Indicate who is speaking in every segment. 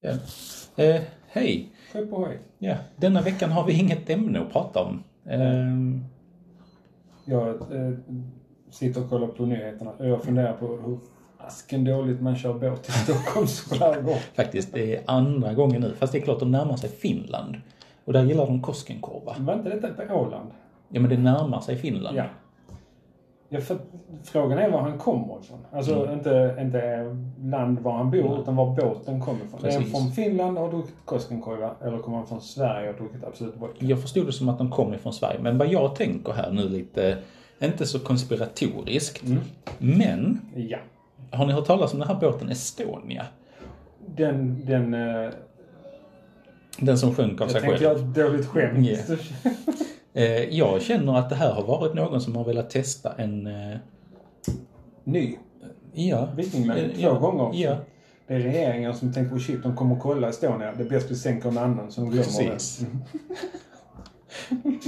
Speaker 1: Ja. Eh, Hej!
Speaker 2: Skepp ohoj.
Speaker 1: Ja. Denna veckan har vi inget ämne att prata om. Ehm,
Speaker 2: Jag eh, sitter och kollar på nyheterna och jag funderar på hur asken dåligt man kör båt i Stockholms skärgård.
Speaker 1: faktiskt, det är andra gången nu. Fast det är klart, de närmar sig Finland. Och där gillar de Koskenkorva.
Speaker 2: Var inte detta på Åland?
Speaker 1: Ja, men det närmar sig Finland.
Speaker 2: Ja. ja för, frågan är var han kommer ifrån. Alltså
Speaker 1: Mm.
Speaker 2: inte, inte land var han bor, utan var båten kommer ifrån. Är han
Speaker 1: Precis.
Speaker 2: från Finland och har druckit Koskenkorva? Eller kommer han från Sverige och har druckit Absolut Vodka?
Speaker 1: Jag förstod det som att de kom ifrån Sverige, men vad jag tänker här nu lite, inte så konspiratoriskt, men
Speaker 2: Mm. Ja.
Speaker 1: har ni hört talas om den här båten Estonia?
Speaker 2: Den, den... eh,
Speaker 1: Den som sjönk av
Speaker 2: Jag
Speaker 1: sig
Speaker 2: tänkte
Speaker 1: själv.
Speaker 2: göra ett dåligt skämt.
Speaker 1: Ja. Eh, jag känner att det här har varit någon som har velat testa en... Eh,
Speaker 2: Ny.
Speaker 1: ja.
Speaker 2: Vikingline
Speaker 1: Eh,
Speaker 2: två
Speaker 1: ja.
Speaker 2: gånger.
Speaker 1: Ja.
Speaker 2: Det är regeringen som tänker på shit, de kommer att kolla Estonia. Det är bäst vi sänker en annan som glömmer Mm.
Speaker 1: Precis.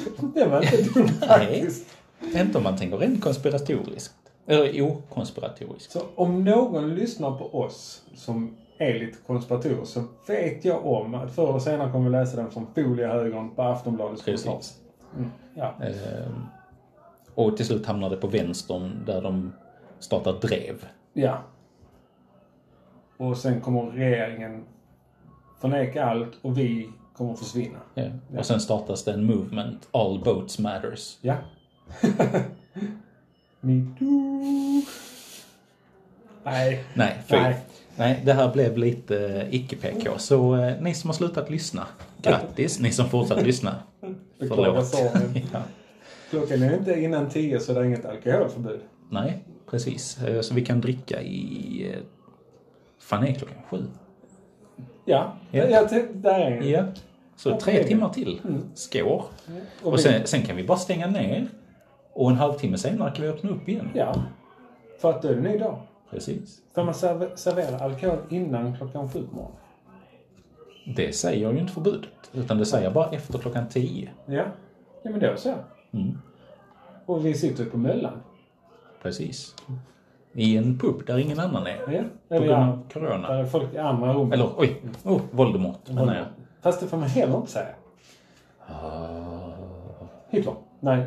Speaker 2: det. Det var inte dumt faktiskt.
Speaker 1: Inte om man tänker rent konspiratoriskt. Eller okonspiratoriskt.
Speaker 2: Så om någon lyssnar på oss som är lite konspiratorer så vet jag om att förr eller senare kommer vi läsa den från foliehögern på Aftonbladets
Speaker 1: Precis.
Speaker 2: kommentar. Mm. Ja.
Speaker 1: Ehm, och till slut hamnar det på vänstern där de startar drev.
Speaker 2: ja. Och sen kommer regeringen förneka allt och vi kommer försvinna.
Speaker 1: Ja. Eh, Och sen startas det en movement, All Boats Matters.
Speaker 2: Ja. Me too. Nej.
Speaker 1: Nej, fy.
Speaker 2: Nej.
Speaker 1: Nej. det här blev lite eh, icke-PK. Så eh, ni som har slutat lyssna, grattis. Ni som fortsatt lyssna,
Speaker 2: Beklagar
Speaker 1: förlåt.
Speaker 2: sorgen.
Speaker 1: ja.
Speaker 2: Klockan är inte innan tio så det är inget alkoholförbud.
Speaker 1: Nej, precis. Eh, Så vi kan dricka i... eh, Fan, är klockan sju?
Speaker 2: Ja,
Speaker 1: Ja.
Speaker 2: Jag tänkte, där är det. Mm.
Speaker 1: Ja. Så tre timmar till. Skår.
Speaker 2: Och
Speaker 1: Och sen, sen kan vi bara stänga ner. Och en halvtimme senare kan vi öppna upp igen.
Speaker 2: Ja, för att då är det en ny dag.
Speaker 1: Precis.
Speaker 2: För man serve- serverar alkohol innan klockan sju på morgonen.
Speaker 1: Det säger ju inte förbudet. Utan det säger bara efter klockan tio.
Speaker 2: Ja, ja men då så.
Speaker 1: Mm.
Speaker 2: Och vi sitter ju på Möllan.
Speaker 1: Precis. I en pub där ingen annan är.
Speaker 2: Ja,
Speaker 1: På
Speaker 2: eller
Speaker 1: grund
Speaker 2: ja,
Speaker 1: av corona.
Speaker 2: där är folk i andra rummet.
Speaker 1: Eller oj, oh, Voldemort menar jag.
Speaker 2: Fast det får man heller inte säga.
Speaker 1: Ah.
Speaker 2: Hitler? Nej.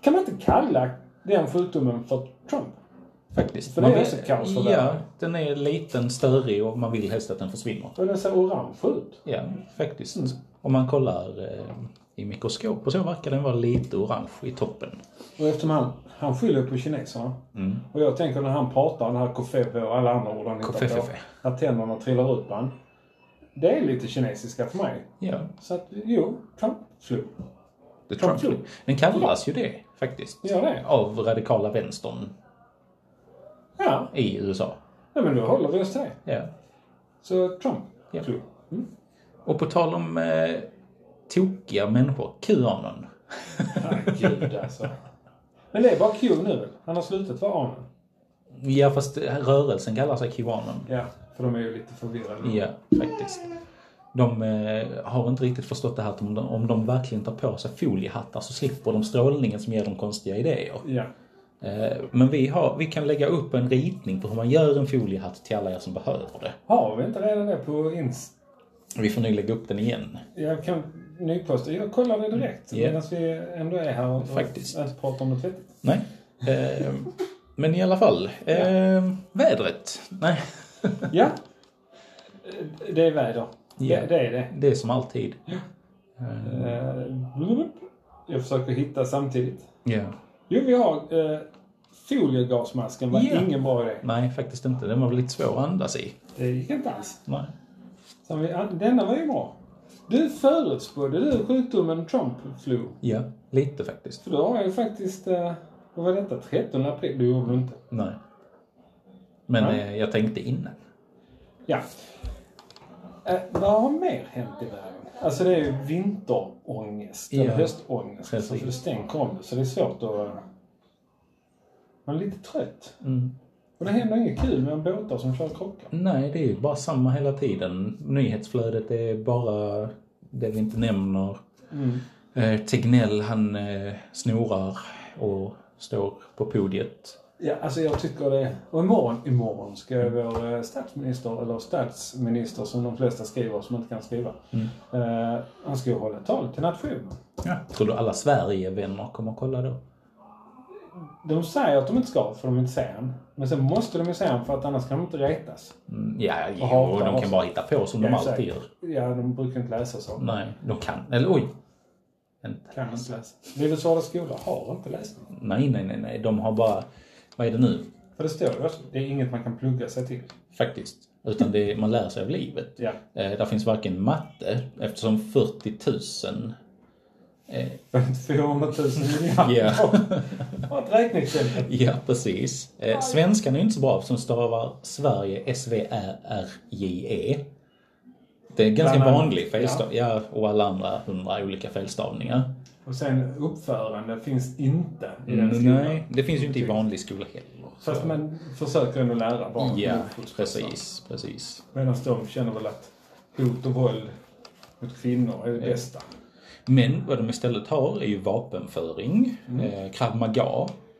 Speaker 2: Kan man inte kalla den sjukdomen för Trump?
Speaker 1: Faktiskt.
Speaker 2: För det är
Speaker 1: Man-
Speaker 2: också kaos för
Speaker 1: Ja,
Speaker 2: världen.
Speaker 1: den är liten, störig och man vill helst att den försvinner.
Speaker 2: Och den ser orange ut.
Speaker 1: Ja, faktiskt. Om man kollar eh, i mikroskop och så verkar den vara lite orange i toppen.
Speaker 2: Och eftersom han, han skyller på kineserna.
Speaker 1: Mm.
Speaker 2: Och jag tänker när han pratar, den här kofefe och alla andra ord han hittar på.
Speaker 1: Kofefefe.
Speaker 2: Att tänderna trillar ut på han. Det är lite kinesiska för mig.
Speaker 1: Ja,
Speaker 2: Så att, jo, Trump flu.
Speaker 1: det tror jag.
Speaker 2: Absolut.
Speaker 1: Den kallas ju det faktiskt.
Speaker 2: Gör det?
Speaker 1: Av radikala vänstern
Speaker 2: Ja,
Speaker 1: i USA.
Speaker 2: nej, men då håller vi oss till det.
Speaker 1: Ja.
Speaker 2: Så Trump
Speaker 1: Ja.
Speaker 2: flu.
Speaker 1: Och på tal om eh, tokiga människor, QAnon.
Speaker 2: Herregud alltså. Men det är bara Q nu. Han har slutat vara amen.
Speaker 1: Ja, fast rörelsen kallar sig QAnon.
Speaker 2: Ja, för de är ju lite förvirrade.
Speaker 1: Ja, faktiskt. De eh, har inte riktigt förstått det här att om de, om de verkligen tar på sig foliehattar så slipper de strålningen som ger dem konstiga idéer.
Speaker 2: Ja.
Speaker 1: Eh, men vi, har, vi kan lägga upp en ritning på hur man gör en foliehatt till alla er som behöver det.
Speaker 2: Har vi inte redan det på Insta?
Speaker 1: Vi får nu lägga upp den igen.
Speaker 2: Jag kan nyposta. Jag kollar det direkt
Speaker 1: Ja.
Speaker 2: medan vi ändå är här och
Speaker 1: Faktiskt.
Speaker 2: inte pratar om något vettigt.
Speaker 1: Nej. Eh, men i alla fall. Eh, vädret. Nej,
Speaker 2: Ja. Eh, Det är väder.
Speaker 1: Ja.
Speaker 2: Det, det är det.
Speaker 1: det är som alltid.
Speaker 2: Eh, blup. Jag försöker hitta samtidigt.
Speaker 1: Ja.
Speaker 2: Jo, vi har eh, foliegasmasken. var
Speaker 1: Ja.
Speaker 2: ingen bra idé.
Speaker 1: Nej, faktiskt inte. Den var väl lite svår att andas i.
Speaker 2: Det gick inte alls.
Speaker 1: Nej.
Speaker 2: Så vi, denna var ju bra. Du förutspådde du sjukdomen Trump-flu.
Speaker 1: Ja, lite faktiskt.
Speaker 2: För då har jag ju faktiskt... Eh, vad var detta? 13 april? Det gjorde du inte.
Speaker 1: Nej. Men
Speaker 2: Nej.
Speaker 1: Eh, jag tänkte innan.
Speaker 2: Ja. Eh, vad har mer hänt i världen? Alltså det är ju vinterångest,
Speaker 1: Ja.
Speaker 2: eller höstångest.
Speaker 1: Precis.
Speaker 2: Så du stänker om det, så det är svårt att... Man är lite trött. Och det händer inget kul med en båtar som kör krockar.
Speaker 1: Nej, det är ju bara samma hela tiden. Nyhetsflödet är bara det vi inte nämner. Mm. Eh, Tegnell, han eh, snorar och står på podiet.
Speaker 2: Ja, alltså jag tycker det. Och imorgon, imorgon ska ju vår eh, statsminister, eller statsminister som de flesta skriver, som inte kan skriva.
Speaker 1: Mm.
Speaker 2: Eh, han ska ju hålla ett tal till nationen.
Speaker 1: Ja. Tror du alla Sverigevänner kommer att kolla då?
Speaker 2: De säger att de inte ska, för de vill inte se han. Men sen måste de ju se han, för att annars kan de inte retas.
Speaker 1: Mm, ja, jo,
Speaker 2: hatar
Speaker 1: de
Speaker 2: oss.
Speaker 1: kan bara hitta på som de
Speaker 2: Ja,
Speaker 1: alltid gör.
Speaker 2: exakt. Ja, de brukar inte läsa saker.
Speaker 1: Nej, de kan. Eller oj. Vänta.
Speaker 2: Kan inte läsa. Livets Hårda Skola har inte läsning.
Speaker 1: Nej, nej, nej, nej. De har bara... Vad är det nu?
Speaker 2: För det står ju också, det är inget man kan plugga sig till.
Speaker 1: Faktiskt. Utan det, är- man lär sig av livet.
Speaker 2: Ja.
Speaker 1: Eh, där finns varken matte, eftersom 40 000... Eh,
Speaker 2: 400 000 miljarder.
Speaker 1: Ja.
Speaker 2: Och ett räkneexempel.
Speaker 1: ja, precis. Eh, svenskan är ju inte så bra som stavar Sverige S-V-R-R-J-E. E. Det är en ganska
Speaker 2: Bland annat.
Speaker 1: vanlig felstavning. Ja. och alla andra hundra olika felstavningar.
Speaker 2: Och sen uppförande finns inte i den skolan.
Speaker 1: Mm, Nej, det finns ju inte i vanlig skola heller.
Speaker 2: Fast man försöker ändå lära barn.
Speaker 1: Ja,
Speaker 2: uppfostran.
Speaker 1: precis, precis.
Speaker 2: Medan de känner väl att hot och våld mot kvinnor är det bästa.
Speaker 1: Men vad de istället har är ju vapenföring.
Speaker 2: Mm.
Speaker 1: Eh, krav maga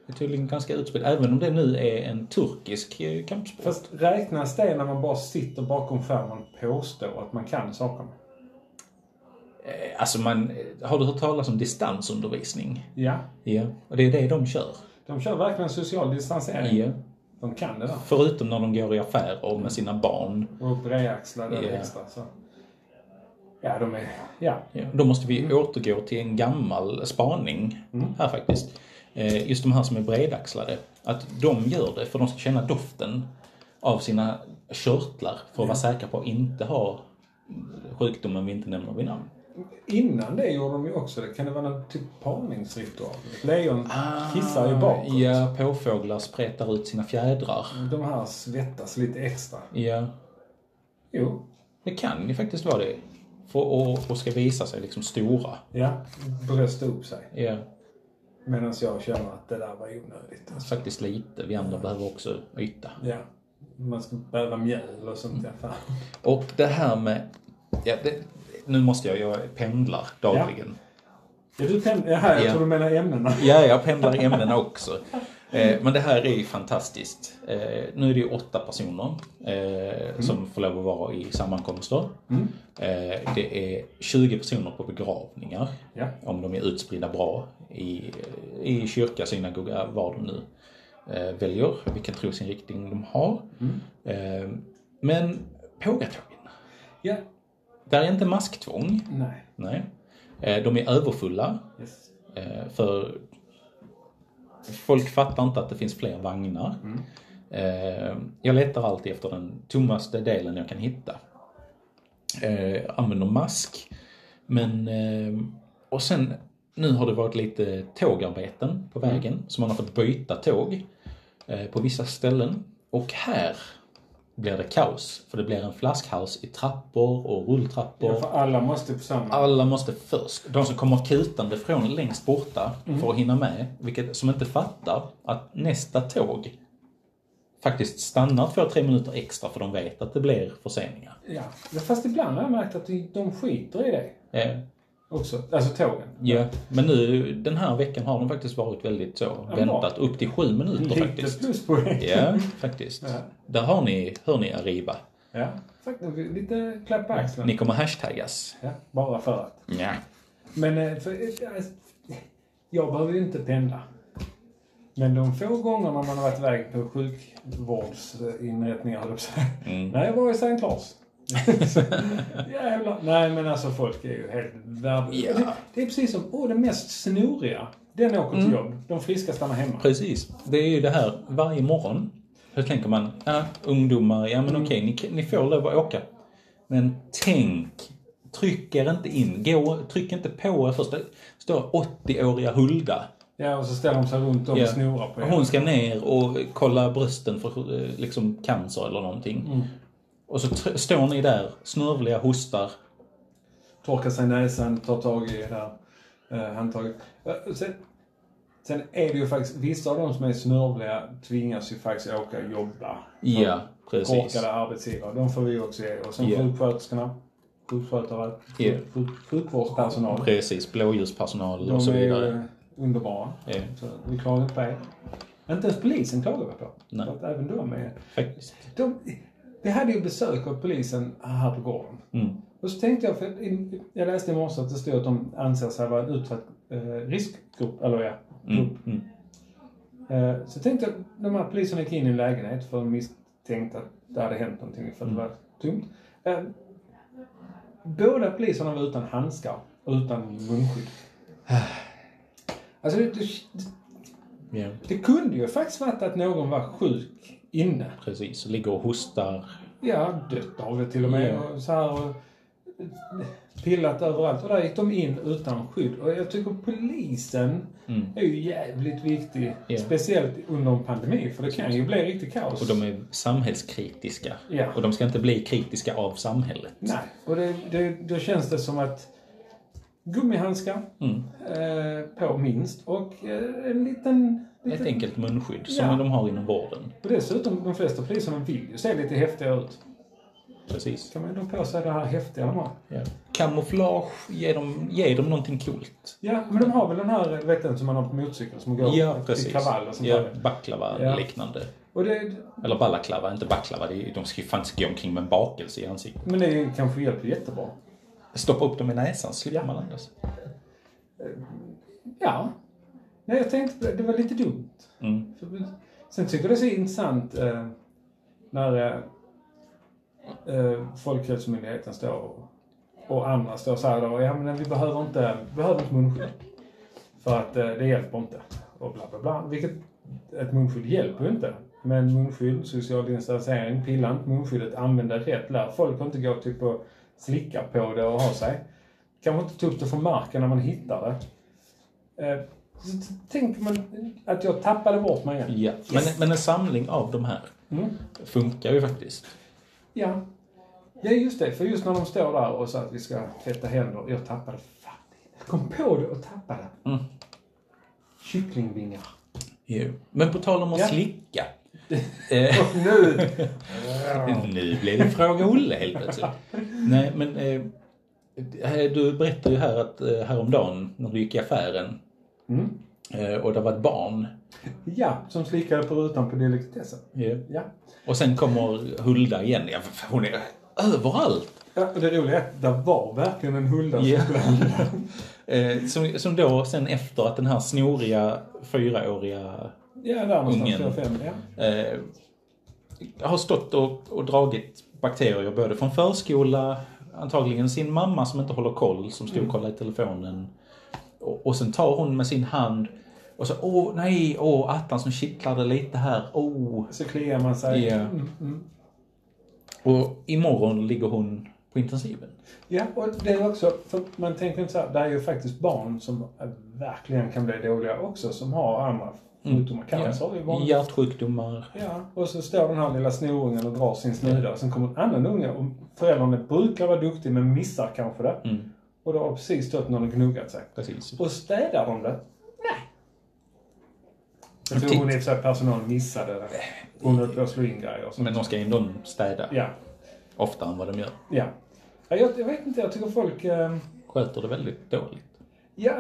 Speaker 1: är tydligen ganska utspritt. Även om det nu är en turkisk eh, kampsport.
Speaker 2: Fast räknas det när man bara sitter bakom skärmen och påstår att man kan sakerna?
Speaker 1: Eh, alltså man, eh, har du hört talas om distansundervisning?
Speaker 2: Ja,
Speaker 1: Ja. Och det är det de kör.
Speaker 2: de kör verkligen social distansering.
Speaker 1: Ja.
Speaker 2: De kan det där.
Speaker 1: Förutom när de går i affärer med sina barn.
Speaker 2: Och bredaxlade
Speaker 1: Ja.
Speaker 2: extra. Så. alltså. Ja, de är... Ja.
Speaker 1: Ja. Då måste vi återgå till en gammal spaning
Speaker 2: Mm.
Speaker 1: här faktiskt. Eh, just de här som är bredaxlade. Att de gör det för de ska känna doften av sina körtlar för att vara säkra på att inte ha sjukdomen vi inte nämner vid namn.
Speaker 2: Innan det gjorde de ju också det. Kan det vara någon typ parningsritual? Ett Lejon Ah, kissar ju bakåt.
Speaker 1: Ah, Ja, påfåglar spretar ut sina fjädrar.
Speaker 2: De här svettas lite extra.
Speaker 1: Ja,
Speaker 2: Jo.
Speaker 1: det kan ju faktiskt vara det. För, och, och ska visa sig liksom stora.
Speaker 2: Ja. Brösta upp sig.
Speaker 1: Ja,
Speaker 2: Medan jag känner att det där var onödigt. Alltså.
Speaker 1: faktiskt lite. Vi andra behöver också yta.
Speaker 2: Ja. Man ska behöva mjöl och sånt i
Speaker 1: Mm.
Speaker 2: alla fall.
Speaker 1: Och det här med... Ja, det, nu måste jag, jag pendlar dagligen.
Speaker 2: Ja, du tänd... Jaha, jag
Speaker 1: Ja.
Speaker 2: tror du menar ämnena.
Speaker 1: Ja, jag pendlar i ämnena också. Eh, men det här är ju fantastiskt. Eh, nu är det ju åtta personer eh, som får lov att vara i sammankomster.
Speaker 2: Mm.
Speaker 1: Eh, det är 20 personer på begravningar.
Speaker 2: Ja.
Speaker 1: Om de är utspridda bra i, i kyrka, synagoga, var de nu eh, väljer, vilken trosinriktning de har. Eh, men pågatågen,
Speaker 2: Ja.
Speaker 1: där är inte masktvång.
Speaker 2: Nej.
Speaker 1: Nej. Eh, De är överfulla.
Speaker 2: Yes.
Speaker 1: eh, För folk fattar inte att det finns fler vagnar. Eh, Jag letar alltid efter den tommaste delen jag kan hitta. Eh, Använder mask. Men, eh, och sen, nu har det varit lite tågarbeten på vägen. Så man har fått byta tåg eh, på vissa ställen. Och här blir det kaos. För det blir en flaskhals i trappor och rulltrappor.
Speaker 2: Ja, för alla måste på samma.
Speaker 1: Alla måste först, de som kommer kutande från längst borta för att hinna med, vilket, som inte fattar att nästa tåg faktiskt stannar två, tre minuter extra för de vet att det blir förseningar.
Speaker 2: Ja. Fast ibland har jag märkt att de skiter i det
Speaker 1: Eh,
Speaker 2: också. Alltså tågen.
Speaker 1: ja. Men nu den här veckan har de faktiskt varit väldigt så,
Speaker 2: Ja, bra.
Speaker 1: väntat upp till sju minuter
Speaker 2: Lite
Speaker 1: faktiskt.
Speaker 2: pluspoäng.
Speaker 1: Ja, faktiskt.
Speaker 2: Ja.
Speaker 1: Där har ni, hör ni Arriva.
Speaker 2: Ja. Faktiskt, lite klapp på axeln.
Speaker 1: Ni kommer hashtaggas.
Speaker 2: Ja, bara för att.
Speaker 1: Ja.
Speaker 2: Men eh, för, eh, jag behöver ju inte pendla. Men de få gångerna man har varit iväg på sjukvårdsinrättningar, höll jag på att säga.
Speaker 1: Mm.
Speaker 2: Nej, jag var i Sankt Lars. Jävlar. Nej, men alltså folk är ju helt värdelösa.
Speaker 1: Ja.
Speaker 2: Det, det är precis som, åh, den mest snoriga, den åker
Speaker 1: Mm.
Speaker 2: till jobb. De friska stannar hemma.
Speaker 1: Precis. Det är ju det här varje morgon. Då tänker man, ja, ungdomar, ja men okej, ni, ni får lov att åka. Men tänk, tryck er inte in. Gå, tryck inte på er först. Det står 80-åriga Hulda.
Speaker 2: Ja, och så ställer de sig runt om
Speaker 1: Ja.
Speaker 2: och snorar på er.
Speaker 1: Hon ska ner och kolla brösten för eh, liksom, cancer eller någonting.
Speaker 2: Mm.
Speaker 1: Och så tr- står ni där, snörvliga, hostar.
Speaker 2: Torkar sig i näsan, tar tag i det där eh, handtaget. Eh, Sen, sen är det ju faktiskt, vissa av de som är snörvliga tvingas ju faktiskt åka och jobba.
Speaker 1: Ja, precis.
Speaker 2: Mm. Korkade arbetsgivare, de får vi också ge. Och sen
Speaker 1: Ja.
Speaker 2: sjuksköterskorna, sjukskötare,
Speaker 1: Ja.
Speaker 2: sjuk, sjukvårdspersonal.
Speaker 1: Precis, blåljuspersonal
Speaker 2: De
Speaker 1: och så
Speaker 2: är
Speaker 1: vidare.
Speaker 2: ju underbara.
Speaker 1: Ja.
Speaker 2: Så vi klagar inte på det. Inte ens polisen klagar vi på.
Speaker 1: Nej.
Speaker 2: För att även de är...
Speaker 1: Faktiskt.
Speaker 2: De, vi hade ju besök av polisen här på gården.
Speaker 1: Mm.
Speaker 2: Och så tänkte jag, för i- jag läste i morse att det stod att de anser sig vara en utsatt eh, riskgrupp, eller ja, grupp.
Speaker 1: Mm. Mm.
Speaker 2: Eh, så tänkte jag, de här poliserna gick in i en lägenhet för de misstänkte att det hade hänt någonting för
Speaker 1: Mm.
Speaker 2: det var tomt. Eh, båda poliserna var utan handskar och utan munskydd. Alltså, det, det,
Speaker 1: Ja,
Speaker 2: det kunde ju faktiskt varit att någon var sjuk inne.
Speaker 1: precis. Ligger och hostar.
Speaker 2: Ja, dött av det till och med.
Speaker 1: Ja.
Speaker 2: Och så här, och pillat överallt. Och där gick de in utan skydd. Och jag tycker polisen
Speaker 1: Mm.
Speaker 2: är ju jävligt viktig.
Speaker 1: Ja.
Speaker 2: Speciellt under en pandemi, för det kan ju bli riktigt kaos.
Speaker 1: Och de är samhällskritiska.
Speaker 2: Ja.
Speaker 1: Och de ska inte bli kritiska av samhället.
Speaker 2: Nej, och det, det, då känns det som att gummihandskar
Speaker 1: Mm.
Speaker 2: eh, på minst och eh, en liten...
Speaker 1: Ett
Speaker 2: liten
Speaker 1: enkelt munskydd som
Speaker 2: Mm. Ja.
Speaker 1: de har inom vården.
Speaker 2: och dessutom, de flesta poliserna vill ju se lite häftiga ut.
Speaker 1: Precis.
Speaker 2: Kan man ju då på sig det här häftiga de har.
Speaker 1: Ja. Kamouflage, ge dem, ge dem någonting coolt.
Speaker 2: Ja, men de har väl den här du vet den som man har på motorcykel som går
Speaker 1: Ja, precis.
Speaker 2: i kravall och sånt
Speaker 1: ja,
Speaker 2: där.
Speaker 1: baklava
Speaker 2: Ja.
Speaker 1: liknande.
Speaker 2: Och det,
Speaker 1: Eller balaklava, inte baklava. Det är, ju- de ska ju fan inte gå omkring med en bakelse i ansiktet.
Speaker 2: men det kanske hjälper jättebra.
Speaker 1: Stoppa upp dem i näsan slipper
Speaker 2: Ja.
Speaker 1: man andas.
Speaker 2: Ja. Nej, jag tänkte det var lite dumt.
Speaker 1: Mm.
Speaker 2: För- Sen tycker jag det är så intressant eh, när eh, eh, Folkhälsomyndigheten står och, och andra står så här då, ja men vi behöver inte, vi behöver inte munskydd. För att eh, det hjälper inte. Och bla bla bla. Vilket, ett munskydd hjälper ju inte. Men munskydd, social distansering, pilla inte munskyddet, använd det rätt, lär folk att inte gå typ och slicka på det och ha sig. Kanske inte ta upp det från marken när man hittar det. Eh, så t- tänker man att jag tappade bort mig igen.
Speaker 1: Ja. Men, men en samling av de här
Speaker 2: Mm.
Speaker 1: funkar ju faktiskt.
Speaker 2: Ja. ja, just det. För just när de står där och så att vi ska tvätta händer. Jag tappade fan. Jag kom på det och tappade.
Speaker 1: Mm.
Speaker 2: Kycklingvingar.
Speaker 1: Jo. Men på tal om att
Speaker 2: Ja.
Speaker 1: slicka. Eh,
Speaker 2: Och nu!
Speaker 1: Nu blir det Fråga Olle helt plötsligt. Nej, men eh, eh, du berättade ju här att eh, häromdagen när du gick i affären
Speaker 2: Mm.
Speaker 1: eh, och det var ett barn.
Speaker 2: Ja, som slickade på rutan på delikatessen.
Speaker 1: Ja.
Speaker 2: Ja.
Speaker 1: eh, Och sen kommer Hulda igen. Ja, för hon är överallt.
Speaker 2: ja. Och det roliga är att det var verkligen en Hulda som
Speaker 1: Ja.
Speaker 2: skulle handla.
Speaker 1: Eh, Som, som då sen efter att den här snoriga fyraåriga
Speaker 2: Ja, där någonstans.
Speaker 1: Ungen.
Speaker 2: Fyra, fem. Ja.
Speaker 1: eh, har stått och, och dragit bakterier både från förskola, antagligen sin mamma som inte håller koll, som
Speaker 2: Mm.
Speaker 1: stod och kollade i telefonen. Och, och sen tar hon med sin hand och så åh nej, åh attan som kittlade lite här, åh.
Speaker 2: Så kliar man sig.
Speaker 1: Ja.
Speaker 2: Mm, mm.
Speaker 1: Och imorgon ligger hon på intensiven.
Speaker 2: Ja, och det är också, för man tänker inte så här, det är ju faktiskt barn som verkligen kan bli dåliga också, som har andra sjukdomar. Cancer är ju vanligt.
Speaker 1: Hjärtsjukdomar.
Speaker 2: Ja, och så står den här lilla snorungen och drar sin snuda och sen kommer en annan unge och föräldrarna brukar vara duktiga men missar kanske det.
Speaker 1: Mm,
Speaker 2: Och då har precis stått någon och gnuggat sig.
Speaker 1: precis.
Speaker 2: Och städar de det? Nej. Jag tror
Speaker 1: Titt.
Speaker 2: hon i och för sig personalen missade det. Hon höll på att slå in grejer och sånt.
Speaker 1: Men de ska ändå städa
Speaker 2: Ja,
Speaker 1: oftare än vad de gör.
Speaker 2: ja. Ja, Jag, jag vet inte, jag tycker folk... Eh,
Speaker 1: Sköter det väldigt dåligt.
Speaker 2: Ja,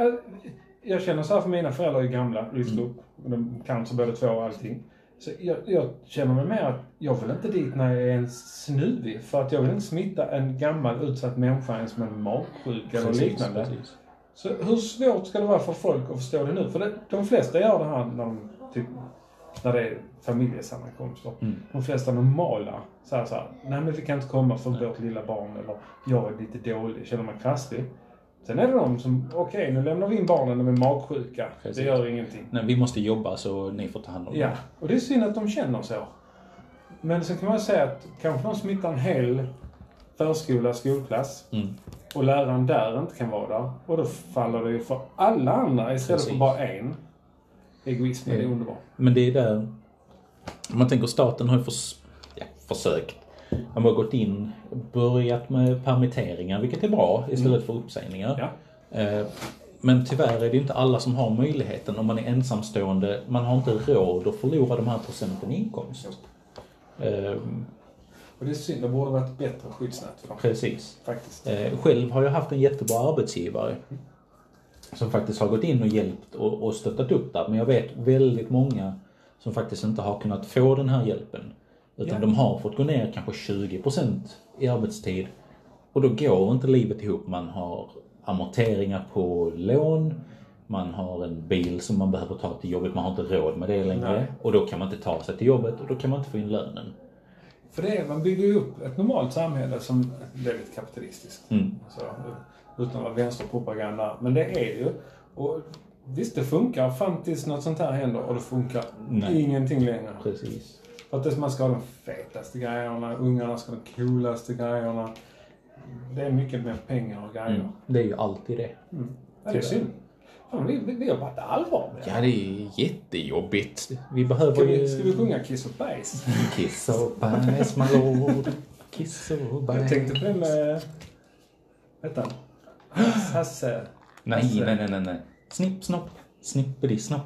Speaker 2: jag känner så här för mina föräldrar är gamla, lyfts
Speaker 1: Mm.
Speaker 2: upp. Och de kan så både två och allting. Så jag, jag känner mig mer att jag vill inte dit när jag är ens snuvig. För att jag vill inte smitta en gammal utsatt människa ens med en magsjuka eller liknande.
Speaker 1: precis.
Speaker 2: Så hur svårt ska det vara för folk att förstå det nu? För det, de flesta gör det här när, de, typ, när det är familjesammankomster.
Speaker 1: Mm.
Speaker 2: De flesta normala säger så här, nej men vi kan inte komma för vårt lilla barn eller jag är lite dålig, känner man krasslig. Sen är det de som, okej nu lämnar vi in barnen, de är magsjuka,
Speaker 1: Precis.
Speaker 2: det gör ingenting.
Speaker 1: Nej, vi måste jobba så ni får ta hand om det.
Speaker 2: Ja, och det är synd att de känner så. Men sen kan man säga att kanske de smittar en hel förskola, skolklass
Speaker 1: Mm.
Speaker 2: och läraren där inte kan vara där. Och då faller det ju för alla andra istället
Speaker 1: Precis.
Speaker 2: för
Speaker 1: Mm.
Speaker 2: bara en. Egoismen är underbar.
Speaker 1: Men det är där... Om man tänker staten har ju förs- ja, försökt. De har gått in och börjat med permitteringar, vilket är bra, istället för uppsägningar.
Speaker 2: Ja.
Speaker 1: Eh, Men tyvärr är det inte alla som har möjligheten om man är ensamstående. Man har inte råd att förlora de här procenten i inkomst. Eh,
Speaker 2: Och det är synd, det borde varit bättre skyddsnät för dem.
Speaker 1: Precis.
Speaker 2: Faktiskt.
Speaker 1: Eh, Själv har jag haft en jättebra arbetsgivare som faktiskt har gått in och hjälpt och, och stöttat upp där. Men jag vet väldigt många som faktiskt inte har kunnat få den här hjälpen. Utan
Speaker 2: Ja.
Speaker 1: de har fått gå ner kanske 20% i arbetstid och då går inte livet ihop. Man har amorteringar på lån, man har en bil som man behöver ta till jobbet, man har inte råd med det längre.
Speaker 2: Nej.
Speaker 1: Och då kan man inte ta sig till jobbet och då kan man inte få in lönen.
Speaker 2: För det, är- man bygger ju upp ett normalt samhälle som det är lite kapitalistiskt.
Speaker 1: Mm.
Speaker 2: Så, utan att vara vänsterpropaganda. Men det är det ju. Och visst, det funkar fram tills något sånt här händer och det funkar
Speaker 1: Nej.
Speaker 2: ingenting längre.
Speaker 1: Precis.
Speaker 2: För att det- man ska ha de fetaste grejerna, ungarna ska ha de coolaste grejerna. Det är mycket mer pengar och grejer.
Speaker 1: Mm. Det är ju alltid det.
Speaker 2: Ja, det är synd. Fan, vi, vi, vi har varit allvar med det.
Speaker 1: Ja, det är jättejobbigt. Vi behöver
Speaker 2: Ska
Speaker 1: ju...
Speaker 2: vi, ska vi sjunga Kiss och Bajs?
Speaker 1: Kiss och bajs, my lord. Kiss och bajs.
Speaker 2: Jag tänkte på det med... Vänta. Hasse.
Speaker 1: Nej, nej, nej, nej, nej. Snipp, snopp, snipperi, snopp.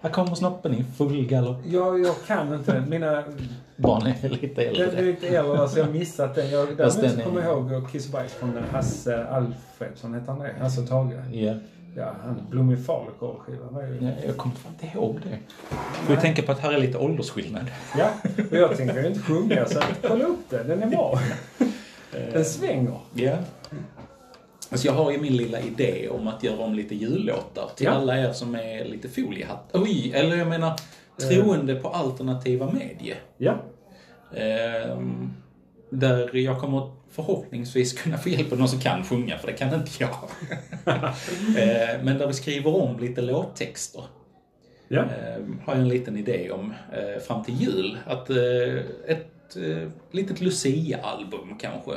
Speaker 1: Här kommer snoppen i full galopp.
Speaker 2: Jag, jag kan inte. Mina...
Speaker 1: Barn är lite
Speaker 2: Jag är
Speaker 1: äldre.
Speaker 2: lite äldre så jag har missat den. Jag, däremot
Speaker 1: Fast den
Speaker 2: så
Speaker 1: är-
Speaker 2: kommer jag ihåg Kiss och Bajs från Hasse Alfredsson, hette han det? Hasse och Tage.
Speaker 1: Ja.
Speaker 2: Ja, han Blommig falukorv-skiva var ju...
Speaker 1: Ja, Jag kommer fan inte ihåg det. Får vi tänka på att här är lite åldersskillnad.
Speaker 2: Ja, och jag tänker ju inte sjunga så att kolla upp den. Den är bra. Den svänger.
Speaker 1: Ja. Alltså jag har ju min lilla idé om att göra om lite jullåtar till
Speaker 2: Ja.
Speaker 1: alla er som är lite foliehatt. Oj, eller jag menar troende på alternativa medier.
Speaker 2: Ja.
Speaker 1: Ehm, där jag kommer förhoppningsvis kunna få hjälp av någon som kan sjunga, för det kan inte jag. Ehm, men där vi skriver om lite låttexter.
Speaker 2: Ja.
Speaker 1: Ehm, har jag en liten idé om eh, fram till jul. Att eh, ett eh, litet Lucia-album kanske.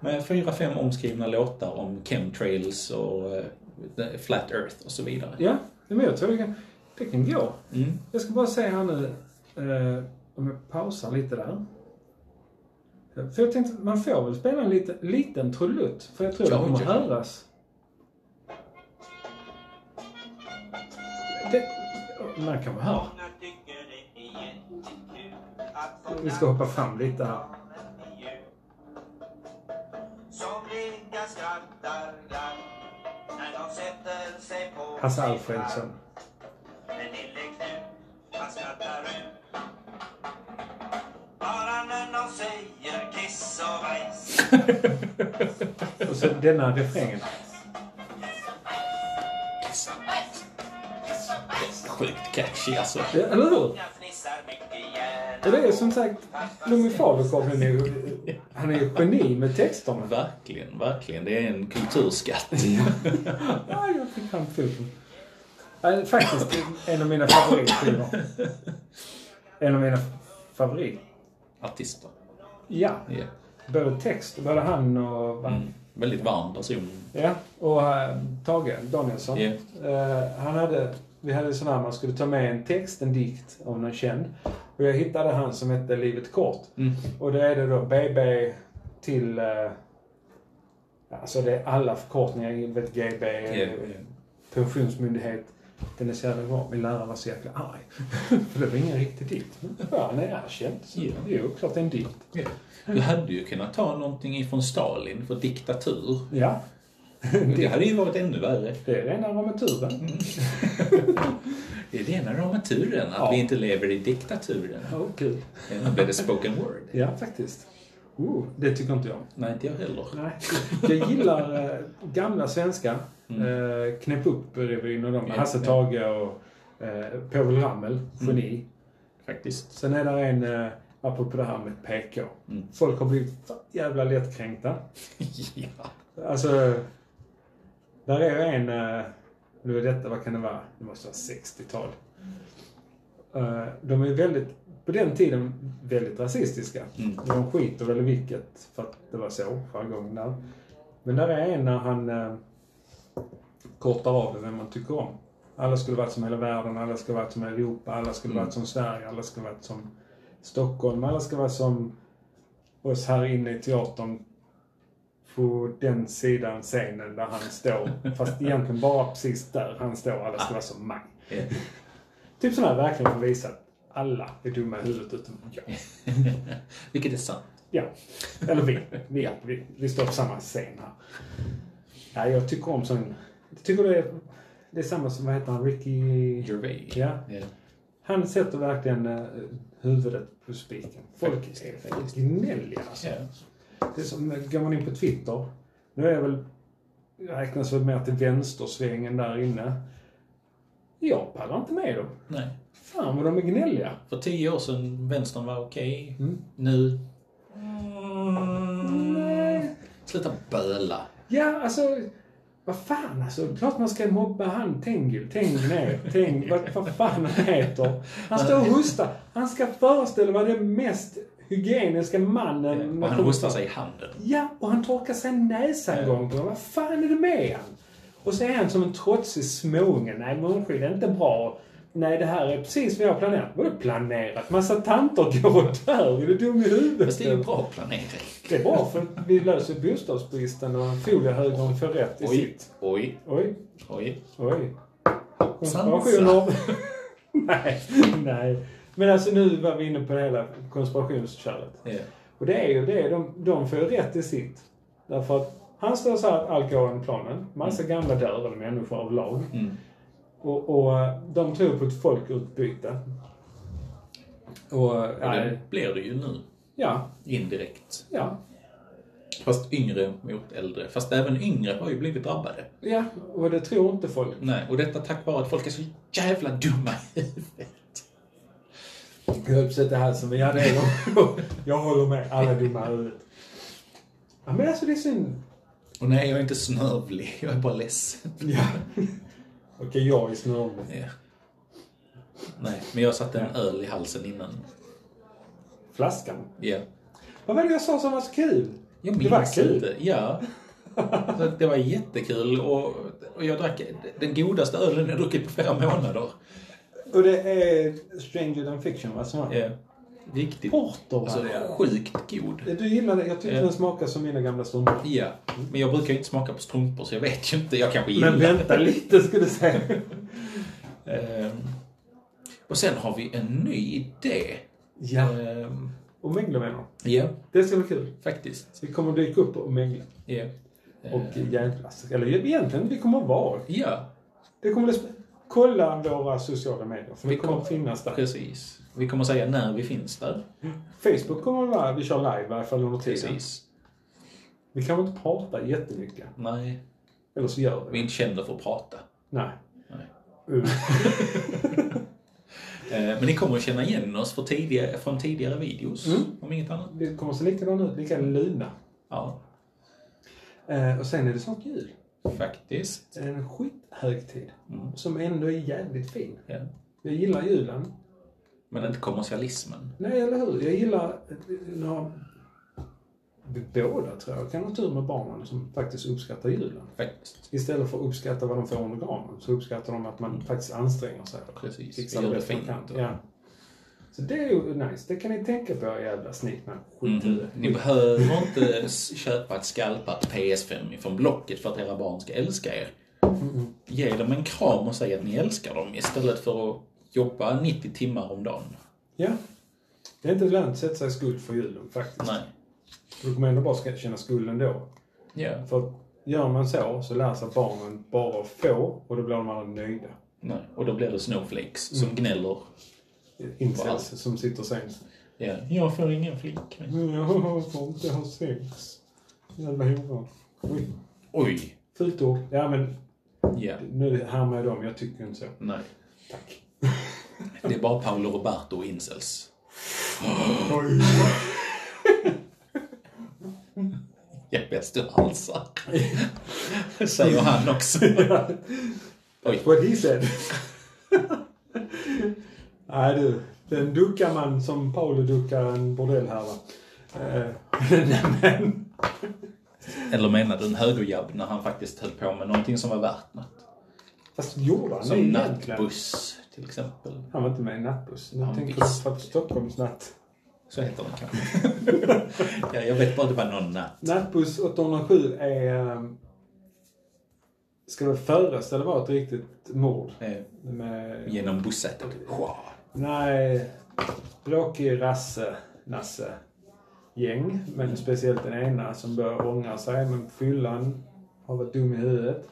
Speaker 1: Med fyra, fem omskrivna låtar om chemtrails och eh, the flat earth och så vidare.
Speaker 2: Ja, men jag tror det kan, det kan gå.
Speaker 1: Mm.
Speaker 2: Jag ska bara säga här nu, eh, om jag pausar lite där. För jag tänkte, man får väl spela en liten, liten trudelutt, för jag tror
Speaker 1: Ja,
Speaker 2: det kommer
Speaker 1: ja.
Speaker 2: höras. Det, man kan vara här. Vi ska hoppa fram lite här.
Speaker 3: Somliga skrattar glatt när de sätter sig på
Speaker 2: Hasse
Speaker 3: sin
Speaker 2: Alfredsson.
Speaker 3: vagn. Men lille Knut, han skrattar ut. Bara när de säger kiss och bajs.
Speaker 2: Och så denna refrängen.
Speaker 1: Sjukt catchy alltså.
Speaker 2: Ja, Eller hur?
Speaker 3: Jag fnissar mycket gärna.
Speaker 2: Och det är som sagt, Lommi Falukorv, han är ju- han är ju geni med texterna.
Speaker 1: Verkligen, verkligen. Det är en kulturskatt.
Speaker 2: Ja, jag fick fram foten. Ja, Faktiskt en av mina favoritskivor. En av mina favorit...
Speaker 1: Artister.
Speaker 2: Ja.
Speaker 1: Ja.
Speaker 2: Både text, både han och...
Speaker 1: Mm. Väldigt varm person.
Speaker 2: Ja, och eh, Tage Danielsson.
Speaker 1: Ja.
Speaker 2: Eh, han hade... Vi hade sån här, man skulle ta med en text, en dikt av någon känd. Och jag hittade han som hette Livet Kort.
Speaker 1: Mm.
Speaker 2: Och då är det då BB till... eh, alltså det är alla förkortningar, jag vet, GB,
Speaker 1: Ja,
Speaker 2: pensionsmyndighet. Den är så jävla bra. Min lärare var så jäkla arg. För det var ingen riktig dikt. Men ja, han är erkänd. Så
Speaker 1: Ja.
Speaker 2: Jo, klart det är en dikt.
Speaker 1: ja. Du hade ju kunnat ta någonting ifrån Stalin för diktatur.
Speaker 2: Ja,
Speaker 1: Det Mm. hade ju varit ännu värre.
Speaker 2: det är rena ramaturen.
Speaker 1: Det är rena rama turen att
Speaker 2: Ja.
Speaker 1: vi inte lever i diktaturen.
Speaker 2: Åh, kul.
Speaker 1: Eller blev det spoken word?
Speaker 2: Ja, faktiskt. Oh, det tycker inte jag om.
Speaker 1: Nej, inte jag heller.
Speaker 2: Nej, jag gillar eh, gamla svenska. Eh, knäpp upp-revyn och de.
Speaker 1: Ja,
Speaker 2: Hasse
Speaker 1: ja.
Speaker 2: Tage och eh, Povel Ramel, geni.
Speaker 1: Faktiskt.
Speaker 2: Sen är det en, eh, apropå det här med PK. Folk har blivit fa- jävla lättkränkta.
Speaker 1: Ja.
Speaker 2: Alltså, där är ju en, eh, nu är detta, vad kan det vara? Det måste vara 60-tal. Eh, de är väldigt, på den tiden, väldigt rasistiska.
Speaker 1: Mm.
Speaker 2: De skiter väl i vilket, för att det var så jargongen där. Men där är en när han eh, kortar av det, vem man tycker om. Alla skulle varit som hela världen, alla skulle varit som Europa, alla skulle varit som Sverige, alla skulle varit som Stockholm, alla skulle vara som oss här inne i teatern på den sidan scenen där han står. Fast egentligen bara precis där han står. Alla ska vara som mig.
Speaker 1: Ja.
Speaker 2: Typ sådana här verkligen får visa att alla är dumma i huvudet utom jag.
Speaker 1: Vilket är sant.
Speaker 2: Ja. Eller vi. Vi, vi, vi står på samma scen här. Ja, jag tycker om sån... Jag tycker det är, det är samma som, vad heter han, Ricky...
Speaker 1: Gervais.
Speaker 2: Ja. Han sätter verkligen eh, huvudet på spiken. Folk är gnälliga alltså.
Speaker 1: Ja.
Speaker 2: Det är som, eh, går man in på Twitter, nu är väl, räknas väl mer till vänstersvängen där inne. Jag pallar inte med dem.
Speaker 1: Nej.
Speaker 2: Fan vad de är gnälliga.
Speaker 1: För tio år sedan vänstern var okej.
Speaker 2: Mm.
Speaker 1: Nu... Mm. Sluta böla.
Speaker 2: Ja, alltså, vad fan alltså. Klart man ska mobba han Tengil. Tengil är, Teng, vad, vad fan han heter. Han står och hostar. Han ska föreställa vara den mest hygieniska mannen.
Speaker 1: Och han hostar sig i handen.
Speaker 2: Ja, och han torkar sig näsan gång på gång. Vad fan är det med han? Och så är han som en trotsig småunge. Nej, munskydd är inte bra. Nej, det här är precis vad jag har planerat. Vadå planerat? Massa tanter går och dör. Är du dum i huvudet?
Speaker 1: Fast det är ju bra planering.
Speaker 2: Det är bra för vi löser bostadsbristen och foliehögern får rätt i sitt.
Speaker 1: oj,
Speaker 2: Oj,
Speaker 1: oj.
Speaker 2: oj.
Speaker 1: Sansa.
Speaker 2: Konspirationer. nej, nej. Men alltså nu var vi inne på det hela konspirationsköret.
Speaker 1: Ja.
Speaker 2: Och det är ju det, de, de får ju rätt i sitt. Därför att han står så här att allt går enligt planen. Massa gamla döda människor överlag.
Speaker 1: Mm.
Speaker 2: Och, och eh, de tror på ett folkutbyte. Och, eh,
Speaker 1: Och
Speaker 2: nej.
Speaker 1: det blir det ju nu.
Speaker 2: Ja,
Speaker 1: Indirekt.
Speaker 2: ja,
Speaker 1: Fast yngre mot äldre. Fast även yngre har ju blivit drabbade.
Speaker 2: ja. Och det tror inte folk.
Speaker 1: Nej, och detta tack vare att folk är så jävla dumma i huvudet.
Speaker 2: Jag höll på att säga det här som vi hade en gång. Jag håller med. Alla dumma i huvudet. Ja, men alltså det är synd.
Speaker 1: Och nej, jag är inte snövlig. Jag är bara ledsen.
Speaker 2: Ja. Okej, jag är snörlig.
Speaker 1: Ja. Eh, Nej, men jag satte en öl i halsen innan.
Speaker 2: Flaskan.
Speaker 1: Ja.
Speaker 2: Vad var det jag sa som var så kul?
Speaker 1: Jag
Speaker 2: Det var
Speaker 1: minns
Speaker 2: kul.
Speaker 1: inte. Ja. Så att det var jättekul och, och jag drack den godaste ölen jag druckit på flera månader.
Speaker 2: Och det är Stranger than fiction, va? Som var...
Speaker 1: Ja. Riktigt.
Speaker 2: Porter,
Speaker 1: Eh, Alltså,
Speaker 2: va?
Speaker 1: sjukt god.
Speaker 2: Du gillar det? Jag tyckte
Speaker 1: Ja.
Speaker 2: den smakade som mina gamla strumpor.
Speaker 1: Ja, men jag brukar ju inte smaka på strumpor så jag vet ju inte. Jag kanske gillar
Speaker 2: Men vänta
Speaker 1: det.
Speaker 2: lite, skulle du säga.
Speaker 1: Ehm, och sen har vi en ny idé.
Speaker 2: Ja.
Speaker 1: Ehm,
Speaker 2: Och mängla med dem.
Speaker 1: ja,
Speaker 2: Det ska bli kul.
Speaker 1: faktiskt.
Speaker 2: Vi kommer dyka upp och mängla.
Speaker 1: Ja.
Speaker 2: Och jävlas. Eller egentligen, vi kommer vara.
Speaker 1: ja,
Speaker 2: Det kommer att... Kolla våra sociala medier, för det
Speaker 1: Vi
Speaker 2: kommer
Speaker 1: kommer-
Speaker 2: att finnas där.
Speaker 1: precis. Vi kommer säga när vi finns där.
Speaker 2: Facebook kommer att vara... Vi kör live i varje fall under tiden.
Speaker 1: Precis.
Speaker 2: Vi kan inte prata jättemycket.
Speaker 1: Nej,
Speaker 2: Eller så gör vi
Speaker 1: vi är
Speaker 2: det.
Speaker 1: inte kända för att prata.
Speaker 2: Nej.
Speaker 1: Nej.
Speaker 2: Uh.
Speaker 1: Ehm, men ni kommer att känna igen oss för tidigare, från tidigare videos,
Speaker 2: Mm.
Speaker 1: om inget annat.
Speaker 2: Vi kommer att se likadana ut, lika luna.
Speaker 1: Ja,
Speaker 2: Eh, och sen är det snart jul.
Speaker 1: faktiskt.
Speaker 2: Det är en skithögtid.
Speaker 1: Mm.
Speaker 2: Som ändå är jävligt fin.
Speaker 1: Ja.
Speaker 2: Jag gillar julen.
Speaker 1: Men inte kommersialismen.
Speaker 2: Nej, eller hur? Jag gillar... Ja, vi båda tror jag. Kan ha tur med barnen som faktiskt uppskattar julen.
Speaker 1: Faktiskt.
Speaker 2: Istället för att uppskatta vad de får under granen så uppskattar de att
Speaker 1: Mm.
Speaker 2: man faktiskt anstränger sig. och
Speaker 1: Precis.
Speaker 2: fixar
Speaker 1: Gör det
Speaker 2: bästa man
Speaker 1: fint
Speaker 2: kan.
Speaker 1: och-
Speaker 2: Ja. Så det är ju nice. Det kan ni tänka på, era jävla snikna skithuvud.
Speaker 1: Mhm. Ni behöver inte s- köpa ett skalpat PS5 ifrån Blocket för att era barn ska älska er. Ge dem en kram och säg att ni älskar dem istället för att jobba 90 timmar om dagen.
Speaker 2: Ja. Det är inte lönt att sätta sig i skuld för julen faktiskt.
Speaker 1: Nej.
Speaker 2: Du kommer ändå bara ska känna skulden då.
Speaker 1: Ja.
Speaker 2: För att gör man så, så lär sig barnen bara att få och då blir de alla nöjda.
Speaker 1: Nej. Och då blir det snowflakes som gnäller.
Speaker 2: Incels som sitter sen.
Speaker 1: Ja. Jag får ingen flickvän.
Speaker 2: Jag får inte ha sex. Jävla hora. Oj.
Speaker 1: Oj!
Speaker 2: Fult ord. Ja, men
Speaker 1: Ja.
Speaker 2: nu härmar jag dem. Jag tycker inte så.
Speaker 1: Nej.
Speaker 2: Tack.
Speaker 1: Det är bara Paolo Roberto och incels.
Speaker 2: Oj.
Speaker 1: Ja, bäst du halsar. Säger han också. Oj.
Speaker 2: What he said. Nej du, den duckar man som Paolo duckar en bordellhärva. Eh, nej men.
Speaker 1: Eller menar du en högerjabb när han faktiskt höll på med någonting som var värt något?
Speaker 2: Fast gjorde han det
Speaker 1: Som
Speaker 2: egentligen?
Speaker 1: nattbuss till exempel.
Speaker 2: Han var inte med i nattbuss.
Speaker 1: Ja,
Speaker 2: Jag tänker
Speaker 1: visst.
Speaker 2: på Stockholms natt.
Speaker 1: Så heter den kanske. ja, jag vet bara att det var någon natt.
Speaker 2: Nattbuss 807 är... eh, Ska väl föreställa vara ett riktigt mord.
Speaker 1: Eh,
Speaker 2: Med...
Speaker 1: Genom bussätet. Wow.
Speaker 2: Nej, bråkig rasse, nasse, gäng. Men speciellt den ena som börjar ångra sig. Men fyllan har varit dum i huvudet.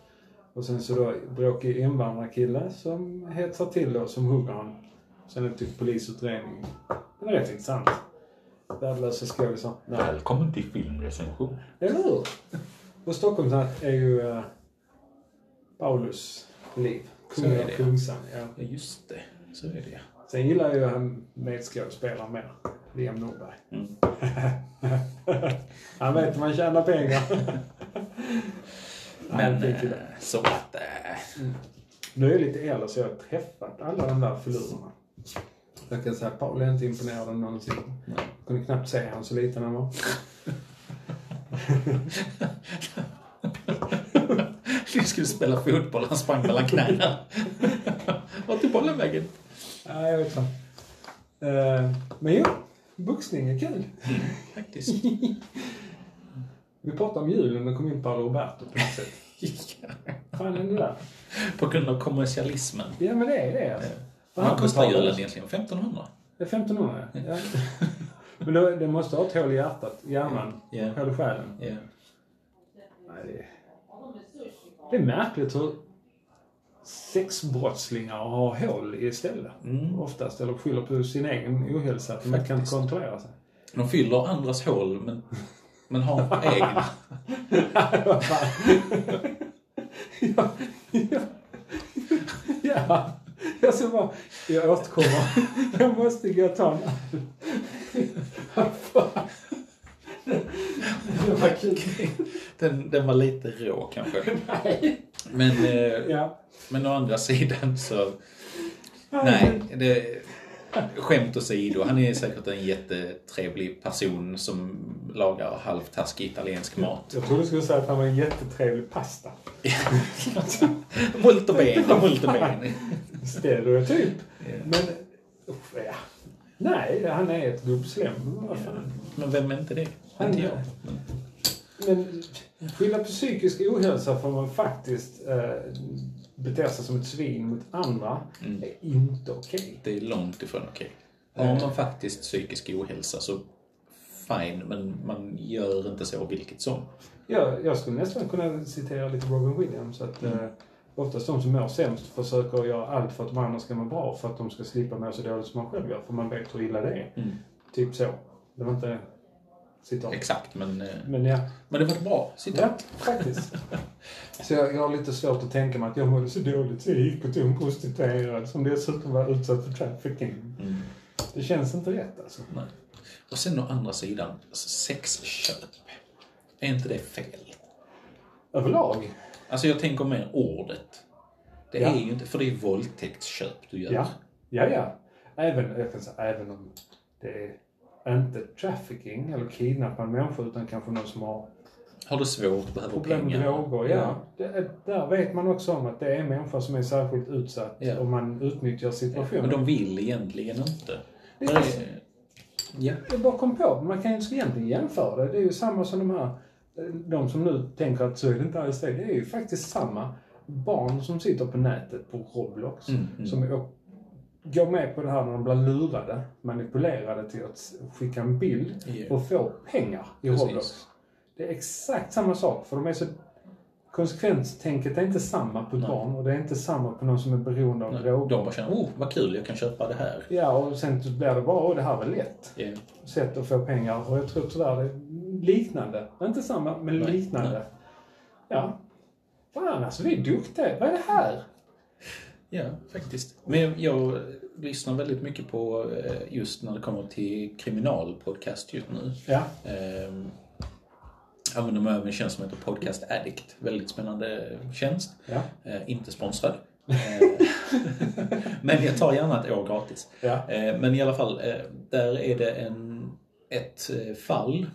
Speaker 2: Och sen så då bråkig invandrarkille som hetsar till då, som hugger han. Sen är det typ polisutredning. Den är rätt intressant. Värdelösa skådisar. Nej.
Speaker 1: Välkommen till filmrecension.
Speaker 2: Eller hur? Och Stockholmsnatt är ju eh, Paulus liv. Kungen
Speaker 1: Så är
Speaker 2: av
Speaker 1: det.
Speaker 2: Kungsan. Ja.
Speaker 1: Ja, just det. Så är det.
Speaker 2: Sen gillar ju han medskådespelaren mer. Liam Norberg.
Speaker 1: Mm.
Speaker 2: han vet hur man tjänar pengar. Nej,
Speaker 1: Men
Speaker 2: det är kul.
Speaker 1: eh, så att... eh,
Speaker 2: Nu är jag lite äldre så jag har träffat alla de där filurerna. Jag kan säga att Paul är inte imponerad än någonsin. Jag kunde knappt se han så liten han var.
Speaker 1: Vi skulle spela fotboll, han sprang mellan knäna. Vart tog bollen vägen?
Speaker 2: Nej, jag vet inte. Eh, Men jo, boxning är kul.
Speaker 1: Faktiskt.
Speaker 2: Vi pratade om julen och kom in på Roberto på något sätt. Fan är det där?
Speaker 1: På grund av kommersialismen.
Speaker 2: Ja men det är det alltså.
Speaker 1: Vad kostar
Speaker 2: betalar-
Speaker 1: julen egentligen? 1500?
Speaker 2: Det är 1500 ja. ja. Men då, det måste ha ett hål i hjärtat, hjärnan,
Speaker 1: Ja.
Speaker 2: hål i själen.
Speaker 1: Ja.
Speaker 2: Nej, det, är... det är märkligt hur sexbrottslingar har hål i stället.
Speaker 1: Mm.
Speaker 2: Oftast, eller skyller på sin egen ohälsa, att de inte kan kontrollera sig.
Speaker 1: De fyller andras hål, men, men har egna.
Speaker 2: ja, ja, ja. Jag ska bara, jag återkommer. Jag måste gå och ta en öl. Vad fan. Det var kul.
Speaker 1: Den, den var lite rå kanske.
Speaker 2: Nej.
Speaker 1: Men, eh,
Speaker 2: Ja.
Speaker 1: men å andra sidan så... Nej, det, skämt åsido. Han är säkert en jättetrevlig person som lagar halvtaskig italiensk mat.
Speaker 2: Jag trodde du skulle säga att han var en jättetrevlig pasta.
Speaker 1: Molto bene, molto bene.
Speaker 2: Stereotyp.
Speaker 1: Ja.
Speaker 2: Men, uff, ja. Nej, han är ett gubbslem. Men vad fan.
Speaker 1: Men vem är inte det?
Speaker 2: Han-
Speaker 1: inte jag. Men,
Speaker 2: Men skylla på psykisk ohälsa för man faktiskt eh, beter sig som ett svin mot andra
Speaker 1: Mm.
Speaker 2: är inte okej.
Speaker 1: det är långt ifrån okej. Har man faktiskt psykisk ohälsa så fine, men man gör inte så vilket som.
Speaker 2: Jag, jag skulle nästan kunna citera lite Robin Williams att
Speaker 1: Mm.
Speaker 2: eh, oftast de som mår sämst försöker göra allt för att de andra ska må bra för att de ska slippa må så dåligt som man själv gör för man vet hur illa det är.
Speaker 1: Mm.
Speaker 2: Typ så. Det var inte citat.
Speaker 1: Exakt, men, eh,
Speaker 2: Men ja,
Speaker 1: men det var ett bra citat.
Speaker 2: ja faktiskt. Så jag, jag har lite svårt att tänka mig att jag mådde så dåligt så jag gick och tog en prostituerad som dessutom var utsatt för trafficking.
Speaker 1: Mm.
Speaker 2: Det känns inte rätt alltså.
Speaker 1: Nej. Och sen å andra sidan, alltså sexköp. Är inte det fel?
Speaker 2: Överlag?
Speaker 1: Alltså jag tänker mer ordet. Det
Speaker 2: Ja.
Speaker 1: är ju inte, för det är våldtäktsköp du gör.
Speaker 2: Ja. Ja, ja. Även, jag kan säga, även om det är inte trafficking eller kidnappar en människa utan kanske någon som har
Speaker 1: Har du svårt, behöver
Speaker 2: problem med
Speaker 1: pengar.
Speaker 2: droger. Ja. Det, är- där vet man också om att det är människor som är särskilt utsatt
Speaker 1: Ja.
Speaker 2: och man utnyttjar
Speaker 1: Men
Speaker 2: situationen.
Speaker 1: de vill egentligen inte.
Speaker 2: Det är
Speaker 1: Men-
Speaker 2: så.
Speaker 1: ja.
Speaker 2: Jag bara kom på, man kan ju inte egentligen jämföra det. Det är ju samma som de här, de som nu tänker att så är det inte alls det. Det är ju faktiskt samma barn som sitter på nätet på Roblox
Speaker 1: Mm, mm.
Speaker 2: som är, går med på det här när de blir lurade, manipulerade till att skicka en bild
Speaker 1: Ja.
Speaker 2: och få pengar i
Speaker 1: Precis.
Speaker 2: Roblox. Det är exakt samma sak, för de är så... Konsekvenstänket är inte samma på ett
Speaker 1: Nej.
Speaker 2: barn och det är inte samma på någon som är beroende av
Speaker 1: Nej,
Speaker 2: droger.
Speaker 1: De bara känner, oh vad kul, jag kan köpa det här.
Speaker 2: Ja, och sen så blir det bara, åh det här var lätt
Speaker 1: Ja.
Speaker 2: sätt att få pengar. Och jag tror tyvärr det är liknande. Inte samma, men
Speaker 1: Nej,
Speaker 2: liknande.
Speaker 1: nej.
Speaker 2: Ja. Fan alltså, vi är duktiga. Vad är det här?
Speaker 1: Ja, faktiskt. Men jag lyssnar väldigt mycket på eh, just när det kommer till kriminalpodcast just nu.
Speaker 2: Ja.
Speaker 1: Ehm, Använder mig av en tjänst som heter Podcast Addict. Väldigt spännande tjänst.
Speaker 2: Ja.
Speaker 1: Eh, inte sponsrad. Eh, men jag tar gärna ett år gratis.
Speaker 2: Ja.
Speaker 1: Eh, men i alla fall, eh, där är det en, ett eh, fall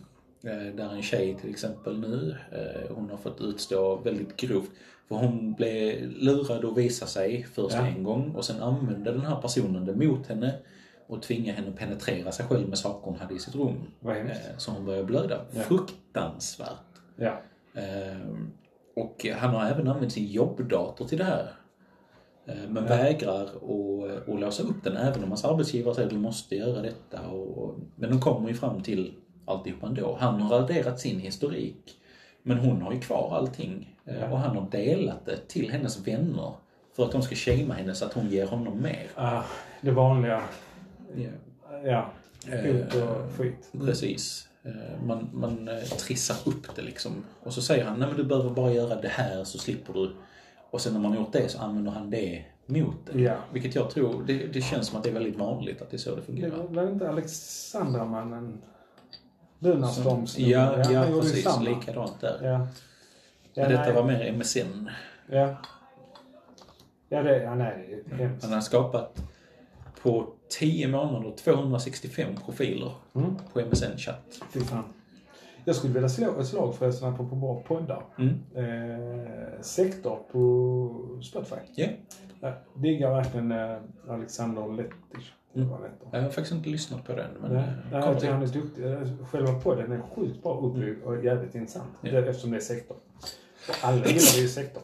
Speaker 1: eh, där en tjej till exempel nu, eh, hon har fått utstå väldigt grovt. För hon blev lurad att visa sig först
Speaker 2: Ja.
Speaker 1: en gång och sen använde den här personen det mot henne och tvingade henne att penetrera sig själv med saker hon hade i sitt rum.
Speaker 2: Vad hemskt.
Speaker 1: Eh, Så hon började blöda.
Speaker 2: Ja.
Speaker 1: Fruktansvärt.
Speaker 2: Ja.
Speaker 1: Ehm, Och han har även använt sin jobbdator till det här. Ehm, Men vägrar att, att låsa upp den även om hans arbetsgivare säger att du måste göra detta. Och, men de kommer ju fram till alltihop ändå. Han har raderat sin historik. Men hon har ju kvar allting. Ehm,
Speaker 2: Ja.
Speaker 1: Och han har delat det till hennes vänner. För att de ska shamea henne så att hon ger honom mer.
Speaker 2: Ah, det vanliga.
Speaker 1: Ja.
Speaker 2: Ja.
Speaker 1: Eh,
Speaker 2: Ut och skit.
Speaker 1: Precis. Eh, Man, man eh, trissar upp det liksom. Och så säger han, nej men du behöver bara göra det här så slipper du. Och sen när man har gjort det så använder han det mot det.
Speaker 2: Ja.
Speaker 1: Vilket jag tror, det, det känns som att det är väldigt vanligt att det är så det
Speaker 2: Det
Speaker 1: fungerar.
Speaker 2: var väl inte Alexandramannen? Lunarstormsnubben.
Speaker 1: Ja, ja
Speaker 2: han gjorde ju
Speaker 1: precis.
Speaker 2: samma.
Speaker 1: Likadant där.
Speaker 2: Ja. Ja,
Speaker 1: Men detta
Speaker 2: nej.
Speaker 1: var mer MSN.
Speaker 2: Ja. Ja, det, ja, nej, det är hemskt.
Speaker 1: Han har skapat på 10 månader 265 profiler
Speaker 2: Mm.
Speaker 1: på MSN-chatt.
Speaker 2: Fy fan. Jag skulle vilja slå ett slag förresten, apropå bra poddar.
Speaker 1: Mm.
Speaker 2: Eh, sektor på Spotify.
Speaker 1: Ja.
Speaker 2: Jag diggar verkligen eh, Alexander Lettich. eller vad han heter.
Speaker 1: Jag har faktiskt inte lyssnat på den. Mm. Men
Speaker 2: Nej, nej,
Speaker 1: eh,
Speaker 2: jag
Speaker 1: kommer
Speaker 2: tycker
Speaker 1: till.
Speaker 2: han är duktig. Eh, Själva podden är sjukt bra uppbyggd och jävligt intressant.
Speaker 1: Mm. Ja.
Speaker 2: Det- Eftersom det är sektor. Och Alla gillar ju sektor.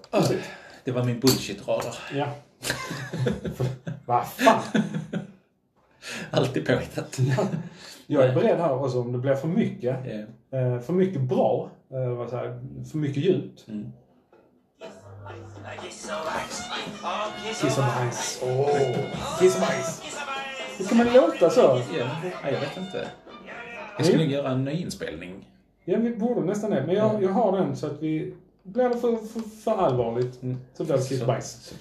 Speaker 1: Det var min bullshit-radar.
Speaker 2: Ja. Vad fan!
Speaker 1: Alltid påhittat.
Speaker 2: Mm. Jag är beredd här också om det blir för mycket.
Speaker 1: Eh,
Speaker 2: eh, För mycket bra. eh, Vad säger jag, För mycket djupt.
Speaker 1: Mm.
Speaker 3: Kiss och bajs. Ja,
Speaker 2: Kiss
Speaker 3: Kiss
Speaker 2: och
Speaker 3: och
Speaker 2: bajs.
Speaker 3: bajs.
Speaker 2: Åh, Kiss och bajs.
Speaker 3: Kiss och
Speaker 2: Hur
Speaker 3: bajs.
Speaker 2: ska man låta så?
Speaker 1: Ja, nej, jag vet inte. Jag skulle nog göra en nyinspelning.
Speaker 2: Ja, vi borde nästan det. Men jag, jag har den så att vi... Blir det för, för, för allvarligt Mm. så blir det kiss och bajs.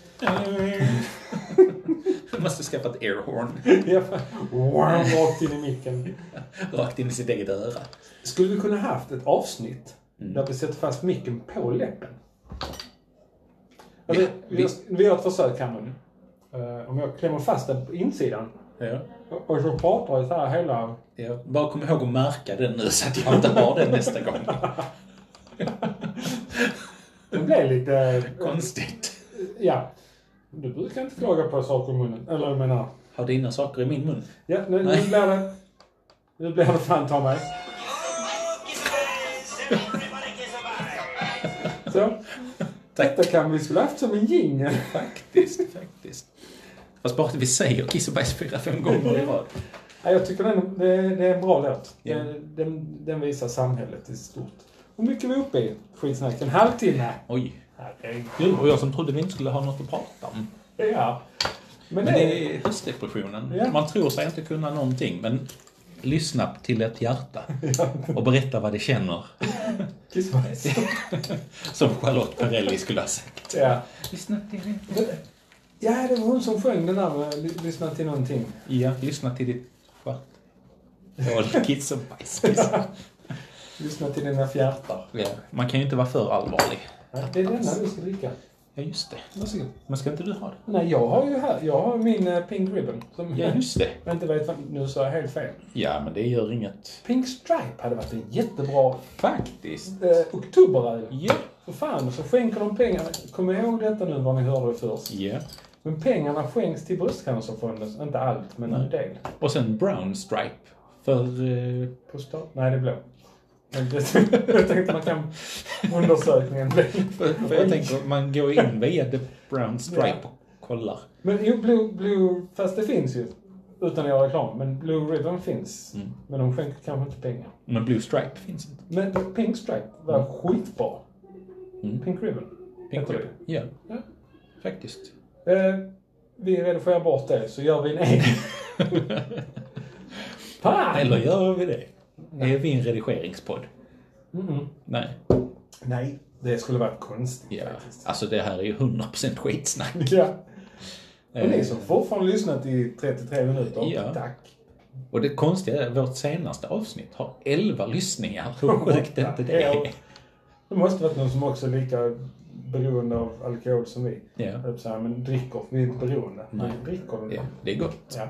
Speaker 1: Jag måste skaffa ett airhorn
Speaker 2: Ja, wow, rakt in i micken.
Speaker 1: rakt in i sitt eget öra.
Speaker 2: Skulle vi kunna haft ett avsnitt där vi sätter fast micken på läppen? Alltså,
Speaker 1: Ja,
Speaker 2: vi,
Speaker 1: vi-
Speaker 2: har, vi har ett försök här nu. Eh, om jag klämmer fast den på insidan
Speaker 1: Ja.
Speaker 2: och, och så pratar jag så här hela...
Speaker 1: Ja. Bara kom ihåg att märka den nu så att jag inte har den nästa gång.
Speaker 2: Det blir lite... eh,
Speaker 1: Konstigt.
Speaker 2: ja. Du brukar inte klaga på saker i munnen. Eller jag menar...
Speaker 1: Har dina saker i min mun?
Speaker 2: Ja, nu, nu
Speaker 1: Nej.
Speaker 2: blir det... Nu blir det fan ta mig.
Speaker 3: Kiss och bajs. Everybody kiss och bajs.
Speaker 2: Så.
Speaker 1: Tack.
Speaker 2: Detta kan vi skulle haft som en jingel.
Speaker 1: Faktiskt, faktiskt. Fast bara att vi säger kiss och bajs fyra, fem gånger i rad.
Speaker 2: Ja, jag tycker den, det, det är en bra låt.
Speaker 1: Ja.
Speaker 2: Den, den, den visar samhället i stort. Hur mycket är vi uppe i? Skitsnack. En halvtimme.
Speaker 1: Oj.
Speaker 2: Herregud.
Speaker 1: Gud, och jag som trodde vi inte skulle ha något att prata om.
Speaker 2: Ja. Men
Speaker 1: Men
Speaker 2: det,
Speaker 1: det är höstdepressionen.
Speaker 2: Ja.
Speaker 1: Man tror sig inte kunna någonting, men lyssna till ett hjärta och berätta vad det känner.
Speaker 2: Kiss och bajs.
Speaker 1: Som Charlotte Perrelli skulle ha sagt.
Speaker 2: ja.
Speaker 1: Lyssna till ditt...
Speaker 2: ja, det var hon som sjöng den där eh, ly- Lyssna till någonting.
Speaker 1: Ja, lyssna till ditt stjärt. Håll kiss och bajs. kiss.
Speaker 2: Lyssna till dina fjärtar.
Speaker 1: Ja, Man kan ju inte vara för allvarlig.
Speaker 2: Ja, det är denna du ska dricka.
Speaker 1: Ja, just det.
Speaker 2: Varsågod.
Speaker 1: Men ska inte du ha det?
Speaker 2: Nej, jag har ju här. Jag har min eh, Pink Ribbon. Som
Speaker 1: Ja, just det.
Speaker 2: jag inte vet vad... Nu sa jag helt fel.
Speaker 1: Ja, men det gör inget.
Speaker 2: Pink Stripe hade varit en jättebra
Speaker 1: Faktiskt.
Speaker 2: eh, oktoberöl.
Speaker 1: Ja.
Speaker 2: För fan, så skänker de pengarna. Kom ihåg detta nu vad ni hörde först.
Speaker 1: Ja.
Speaker 2: Men pengarna skänks till Bröstcancerfonden. Inte allt, men
Speaker 1: Mm.
Speaker 2: en del.
Speaker 1: Och sen brown stripe. För... eh,
Speaker 2: På stat- Nej, det är blå. Men det, jag tänkte man kan... Undersökningen blir...
Speaker 1: För, för jag tänker, man går in via the brown stripe
Speaker 2: Ja.
Speaker 1: och kollar.
Speaker 2: Men jo, Blue, Blue... Fast det finns ju. Utan att göra reklam. Men Blue Ribbon finns.
Speaker 1: Mm.
Speaker 2: Men de skänker kanske inte pengar.
Speaker 1: Men blue stripe finns inte.
Speaker 2: Men Pink Stripe var skitbra.
Speaker 1: Mm.
Speaker 2: Pink Ribbon.
Speaker 1: Pink
Speaker 2: Heter
Speaker 1: Ribbon. Ja,
Speaker 2: det.
Speaker 1: faktiskt.
Speaker 2: Ja. Eh, vi redigerar bort det, så gör vi en egen. Fan!
Speaker 1: Eller gör vi det? Är vi en redigeringspodd?
Speaker 2: Mm-mm.
Speaker 1: Nej.
Speaker 2: Nej, det skulle varit konstigt
Speaker 1: Ja.
Speaker 2: faktiskt.
Speaker 1: Alltså det här är ju 100% skitsnack.
Speaker 2: Ja. Och ni som fortfarande lyssnat i 33 minuter,
Speaker 1: Eh. Ja.
Speaker 2: tack.
Speaker 1: Och det konstiga är att vårt senaste avsnitt har 11 lyssningar. Hur sjukt är inte det
Speaker 2: Ja. Det måste varit någon som också är lika beroende av alkohol som vi.
Speaker 1: Ja.
Speaker 2: Jag höll på att säga, men dricker, vi är inte beroende.
Speaker 1: Nej.
Speaker 2: Vi dricker den.
Speaker 1: Ja, det är gott.
Speaker 2: Ja.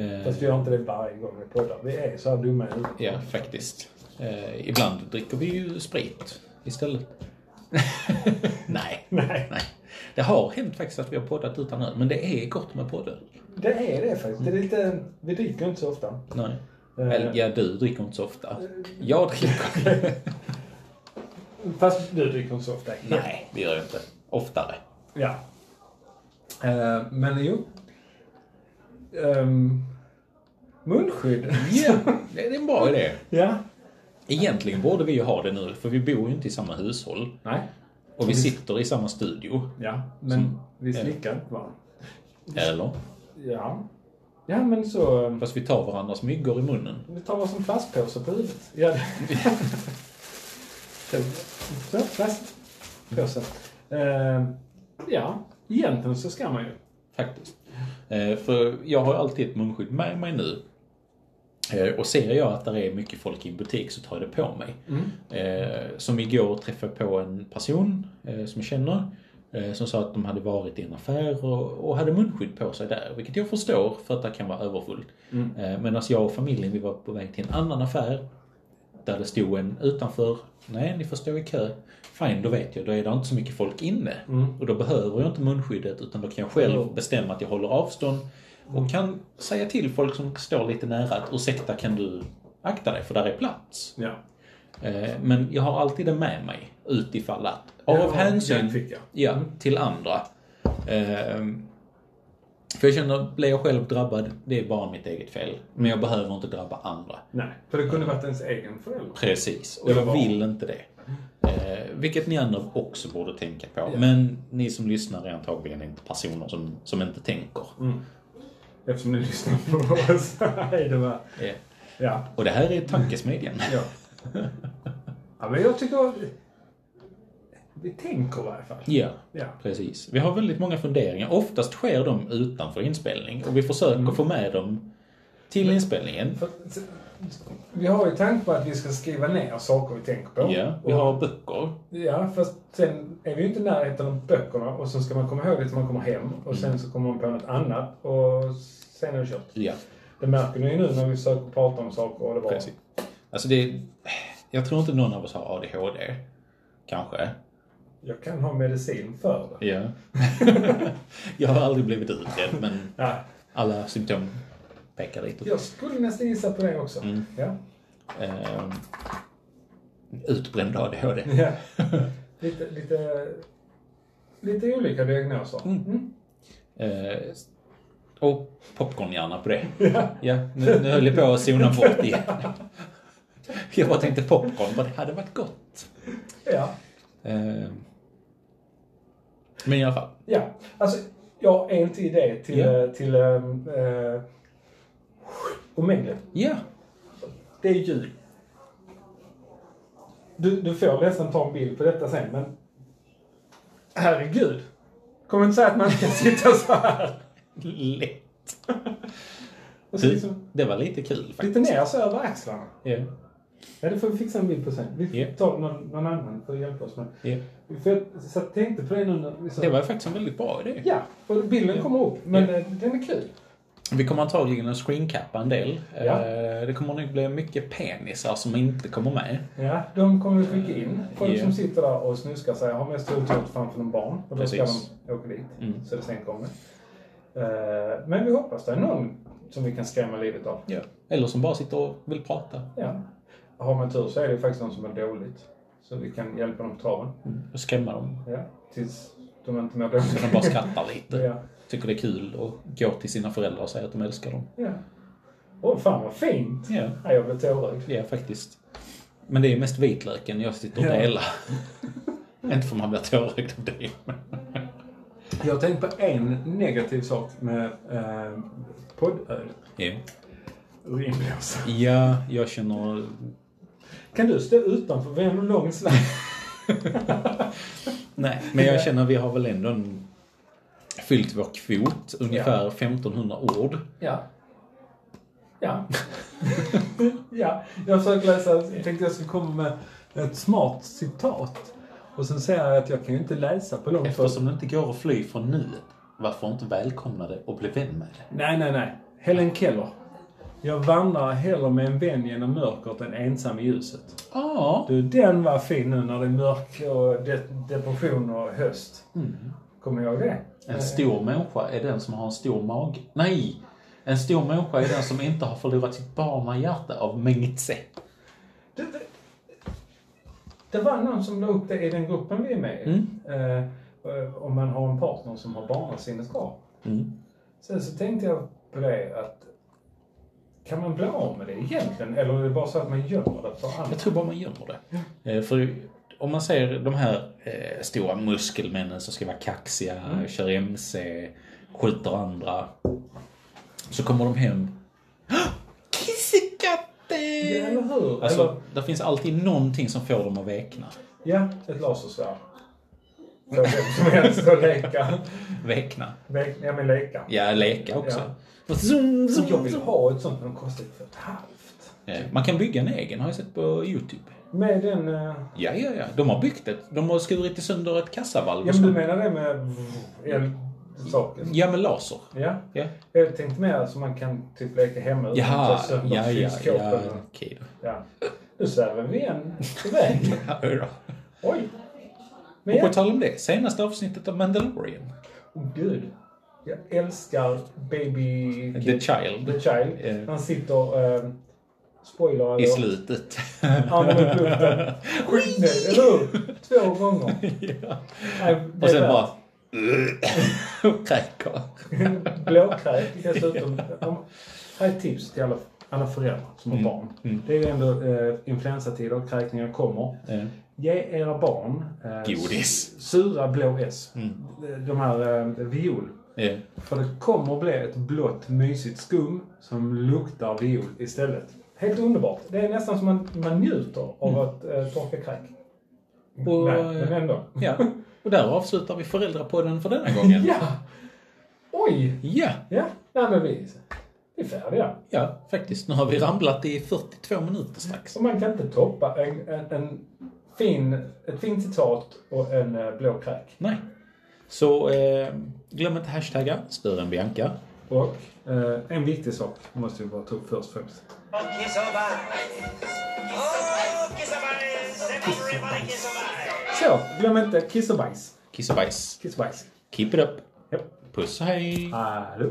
Speaker 1: Eh,
Speaker 2: Fast vi gör inte det varje gång vi poddar. Vi är så här dumma i huvudet.
Speaker 1: Ja, faktiskt. Eh, ibland dricker vi ju sprit istället. Nej.
Speaker 2: Nej.
Speaker 1: Nej. Det har hänt faktiskt att vi har poddat utan öl, men det är gott med poddar.
Speaker 2: Det är det faktiskt. Det är lite, vi dricker inte så ofta.
Speaker 1: Nej.
Speaker 2: Eh.
Speaker 1: Eller, ja, du dricker inte så ofta. Jag dricker.
Speaker 2: Fast du dricker inte så ofta.
Speaker 1: Nej, det gör jag inte. Oftare.
Speaker 2: Ja. Eh, men jo. Ehm, munskydd.
Speaker 1: Ja, det är en bra idé.
Speaker 2: ja.
Speaker 1: Egentligen borde vi ju ha det nu, för vi bor ju inte i samma hushåll.
Speaker 2: Nej.
Speaker 1: Och vi sitter i samma studio.
Speaker 2: Ja, men
Speaker 1: Som-
Speaker 2: vi
Speaker 1: Ja.
Speaker 2: slickar inte varandra.
Speaker 1: Eller?
Speaker 2: Ja. Ja, men så... eh,
Speaker 1: Fast vi tar varandras myggor i munnen.
Speaker 2: Vi tar oss en plastpåse på huvudet. Ja, det... Så, så, plastpåse. Eh, ja, egentligen så ska man ju.
Speaker 1: Faktiskt. Eh, För jag har alltid ett munskydd med mig nu. Eh, Och ser jag att det är mycket folk i en butik så tar jag det på mig.
Speaker 2: Mm.
Speaker 1: Eh, Som igår träffade jag på en person eh, som jag känner. eh, Som sa att de hade varit i en affär och, och hade munskydd på sig där. Vilket jag förstår för att det kan vara överfullt. Mm. Medan jag och familjen vi var på väg till en annan affär. Där det stod en utanför. Nej, ni får stå i kö. Fine, då vet jag. Då är det inte så mycket folk inne. Och då behöver jag inte munskyddet utan då kan jag själv
Speaker 2: Mm.
Speaker 1: bestämma att jag håller avstånd. Och kan säga till folk som står lite nära att ursäkta kan du akta dig för där är plats.
Speaker 2: Ja.
Speaker 1: Eh, Men jag har alltid det med mig utifall att.
Speaker 2: Ja,
Speaker 1: Av hänsyn
Speaker 2: den fick jag.
Speaker 1: ja, till andra. Ehm, För jag känner, blir jag själv drabbad, det är bara mitt eget fel. Men jag behöver inte drabba andra.
Speaker 2: Nej, för det kunde varit ens egen förälder.
Speaker 1: Precis, och
Speaker 2: Eller
Speaker 1: jag
Speaker 2: vad?
Speaker 1: vill inte det. Eh, vilket ni andra också borde tänka på. Men ni som lyssnar är antagligen inte personer som, som inte tänker.
Speaker 2: Eftersom ni lyssnar på oss. Nej, det var...
Speaker 1: Eh,
Speaker 2: Ja.
Speaker 1: och det här är tankesmedjan.
Speaker 2: Ja. ja, men jag tycker... Vi tänker i varje fall.
Speaker 1: ja,
Speaker 2: Ja.
Speaker 1: precis. Vi har väldigt många funderingar. Oftast sker de utanför inspelning och vi försöker få med dem till inspelningen.
Speaker 2: För- Vi har ju tanke på att vi ska skriva ner saker vi tänker på.
Speaker 1: Ja, vi har böcker.
Speaker 2: Ja, fast sen är vi ju inte i närheten av böckerna och sen ska man komma ihåg det när man kommer hem och
Speaker 1: Mm.
Speaker 2: sen så kommer man på något annat och sen är det kört.
Speaker 1: Ja,
Speaker 2: Det märker ni ju nu när vi försöker prata om saker och det var...
Speaker 1: precis. Alltså det... Jag tror inte någon av oss har ADHD. Kanske.
Speaker 2: Jag kan ha medicin för det.
Speaker 1: Ja. jag har aldrig blivit utredd, men
Speaker 2: Ja,
Speaker 1: alla symptom pekar ditåt.
Speaker 2: jag skulle nästan gissa på det också.
Speaker 1: Mm.
Speaker 2: Ja.
Speaker 1: Ehm, utbränd ADHD.
Speaker 2: ja. Lite, lite, lite olika diagnoser. Mm.
Speaker 1: Eh, och popcornhjärna på det. Ja, nu, nu höll jag på att zona bort igen. Jag bara tänkte popcorn, vad det hade varit gott.
Speaker 2: Ja.
Speaker 1: Ehm, men i alla fall.
Speaker 2: Ja, alltså jag är inte i det till,
Speaker 1: Ja.
Speaker 2: eh, till um, uh, Omegle.
Speaker 1: Ja,
Speaker 2: Det är jul. Du, du får nästan ta en bild på detta sen, men herregud. Kommer inte säga att man ska sitta så här.
Speaker 1: lätt.
Speaker 2: Och så
Speaker 1: Du,
Speaker 2: liksom,
Speaker 1: det var lite kul faktiskt.
Speaker 2: lite ner så över axlarna.
Speaker 1: Ja,
Speaker 2: Ja, det får vi fixa en bild på sen. Vi
Speaker 1: Ja.
Speaker 2: tar någon, någon annan för att hjälpa oss med.
Speaker 1: ja.
Speaker 2: För jag så jag tänkte på det nu när vi sa...
Speaker 1: Det var faktiskt en väldigt bra idé.
Speaker 2: Ja, och bilden kommer upp, men eh, den är kul.
Speaker 1: Vi kommer antagligen att screencappa en del.
Speaker 2: Ja.
Speaker 1: Eh, Det kommer nog bli mycket penisar som inte kommer med.
Speaker 2: Ja, de kommer vi skicka in. Folk
Speaker 1: Ja.
Speaker 2: som sitter där och snuskar sig har mest otur framför någon barn. Och då
Speaker 1: Precis.
Speaker 2: ska de åka dit.
Speaker 1: Mm.
Speaker 2: Så det sen kommer. Eh, Men vi hoppas det är någon som vi kan skrämma livet av.
Speaker 1: Ja. Eller som bara sitter och vill prata.
Speaker 2: Ja. Har man tur så är det faktiskt någon som är dåligt. Så vi kan hjälpa dem på traven.
Speaker 1: Och skrämma dem.
Speaker 2: Ja. Tills Mm. de inte mår
Speaker 1: Så de
Speaker 2: dåligt.
Speaker 1: bara skrattar lite.
Speaker 2: Ja.
Speaker 1: Tycker det är kul och går till sina föräldrar och säger att de älskar dem.
Speaker 2: Ja. Åh, fan vad fint!
Speaker 1: Ja,
Speaker 2: Ja, jag blev tårögd.
Speaker 1: det är faktiskt. Men det är mest vitlöken jag sitter och
Speaker 2: Ja.
Speaker 1: delar. inte för man blir tårögd av det. men-
Speaker 2: Jag har tänkt på en negativ sak med eh, poddöl.
Speaker 1: Ja.
Speaker 2: Urinblåsa.
Speaker 1: ja, jag känner...
Speaker 2: Kan du stå utanför? Vi har en lång slang.
Speaker 1: Nej, men jag känner vi har väl ändå en... fyllt vår kvot. Ungefär 1500 ord.
Speaker 2: Ja. Ja. ja. Jag försöker läsa, jag tänkte jag skulle komma med ett smart citat. Och sen säger jag att jag kan ju inte läsa på långt
Speaker 1: Eftersom det inte går att fly från nuet, varför inte välkomna det och bli vän med det?
Speaker 2: Nej, nej, nej. Helen Keller. Jag vandrar hellre med en vän genom mörkret än ensam i ljuset.
Speaker 1: Ja.
Speaker 2: Du, den var fin nu när det är mörk och de- depression och höst. Kommer jag ihåg det?
Speaker 1: En stor människa är den som har en stor mage. Nej! En stor människa är den som inte har förlorat sitt barna hjärta av Mengtse.
Speaker 2: Det, det, det var någon som la upp det i den gruppen vi är med i.
Speaker 1: Mm.
Speaker 2: Eh, eh, om man har en partner som har barnasinnesdrag.
Speaker 1: Mm.
Speaker 2: Sen så tänkte jag på det att kan man bli av med det egentligen? Eller är det bara så att man gör det för andra?
Speaker 1: Jag tror bara man gömmer det. Eh, För om man ser de här eh, stora muskelmännen som ska vara kaxiga, kör MC, skjuter andra. Så kommer de hem. Ah! "Hå!
Speaker 2: Ja, eller
Speaker 1: Kissekatte!
Speaker 2: hur? Eller,
Speaker 1: Alltså, det finns alltid någonting som får dem att väckna.
Speaker 2: ja, ett lasersvärd. För vem som helst att leka.
Speaker 1: Väckna?
Speaker 2: Lek- Ja, men leka.
Speaker 1: Ja, leka också. Zoom,
Speaker 2: Så
Speaker 1: zoom,
Speaker 2: jag vill
Speaker 1: zoom.
Speaker 2: ha ett sånt, men de kostar ju för ett halvt.
Speaker 1: Eh, Man kan bygga en egen, har jag sett på YouTube.
Speaker 2: Med den... eh,
Speaker 1: Ja, ja, ja. De har byggt ett. De har skurit sönder ett kassavalv.
Speaker 2: Ja,
Speaker 1: och
Speaker 2: men du
Speaker 1: så.
Speaker 2: menar det med el-saken?
Speaker 1: Ja, med laser.
Speaker 2: Ja.
Speaker 1: Ja.
Speaker 2: Jag tänkte mer alltså man kan typ leka hemma utan
Speaker 1: Jaha,
Speaker 2: att ta sönder
Speaker 1: ja, ja, ja,
Speaker 2: kylskåpen.
Speaker 1: okej då.
Speaker 2: ja. Nu svävar vi igen iväg.
Speaker 1: Ja, då.
Speaker 2: Oj! Men
Speaker 1: Och på
Speaker 2: jag,
Speaker 1: tal om det, senaste avsnittet av Mandalorian.
Speaker 2: oh, gud. Jag älskar Baby...
Speaker 1: The Child.
Speaker 2: The Child.
Speaker 1: Eh.
Speaker 2: Han sitter... Eh, spoiler
Speaker 1: I
Speaker 2: alert.
Speaker 1: slutet.
Speaker 2: Armen upp i luften. Skitnöjd, eller hur? Två gånger.
Speaker 1: ja.
Speaker 2: Nej, det
Speaker 1: Och sen
Speaker 2: är
Speaker 1: bara... och kräker.
Speaker 2: värt. Blåkräk dessutom. Om- Här är ett tips till alla, alla föräldrar som har barn.
Speaker 1: mm.
Speaker 2: Det är ju ändå eh, influensatider och kräkningar kommer.
Speaker 1: Eh,
Speaker 2: Ge era barn eh,
Speaker 1: Godis. Mm.
Speaker 2: sura blå S. De här eh, viol.
Speaker 1: eh,
Speaker 2: För det kommer att bli ett blått mysigt skum som luktar viol istället. Helt underbart. Det är nästan som man, man njuter av att eh, torka kräk.
Speaker 1: Mm. Och- eh,
Speaker 2: Nej, men ändå.
Speaker 1: Ja. Och där avslutar vi föräldrapodden för denna gången.
Speaker 2: Ja! Oj!
Speaker 1: Ja,
Speaker 2: Ja, nej men vi, vi är färdiga.
Speaker 1: ja, faktiskt. Nu har vi ramlat i 42 minuter strax.
Speaker 2: Så man kan inte toppa en, en, en fin, ett fint citat och en eh, blå kräk.
Speaker 1: Nej. Så eh, glöm inte hashtagga större än Bianca.
Speaker 2: Och eh, en viktig sak måste vi bara ta upp först och främst.
Speaker 3: Och Oh, kiss och bajs. Åh, kiss och bajs! Everybody kiss och bajs!
Speaker 2: Så, glöm inte é kiss och bajs.
Speaker 1: Kiss och bajs.
Speaker 2: Kiss och bajs.
Speaker 1: Keep it up.
Speaker 2: Japp.
Speaker 1: Puss och hej.
Speaker 2: Hallå.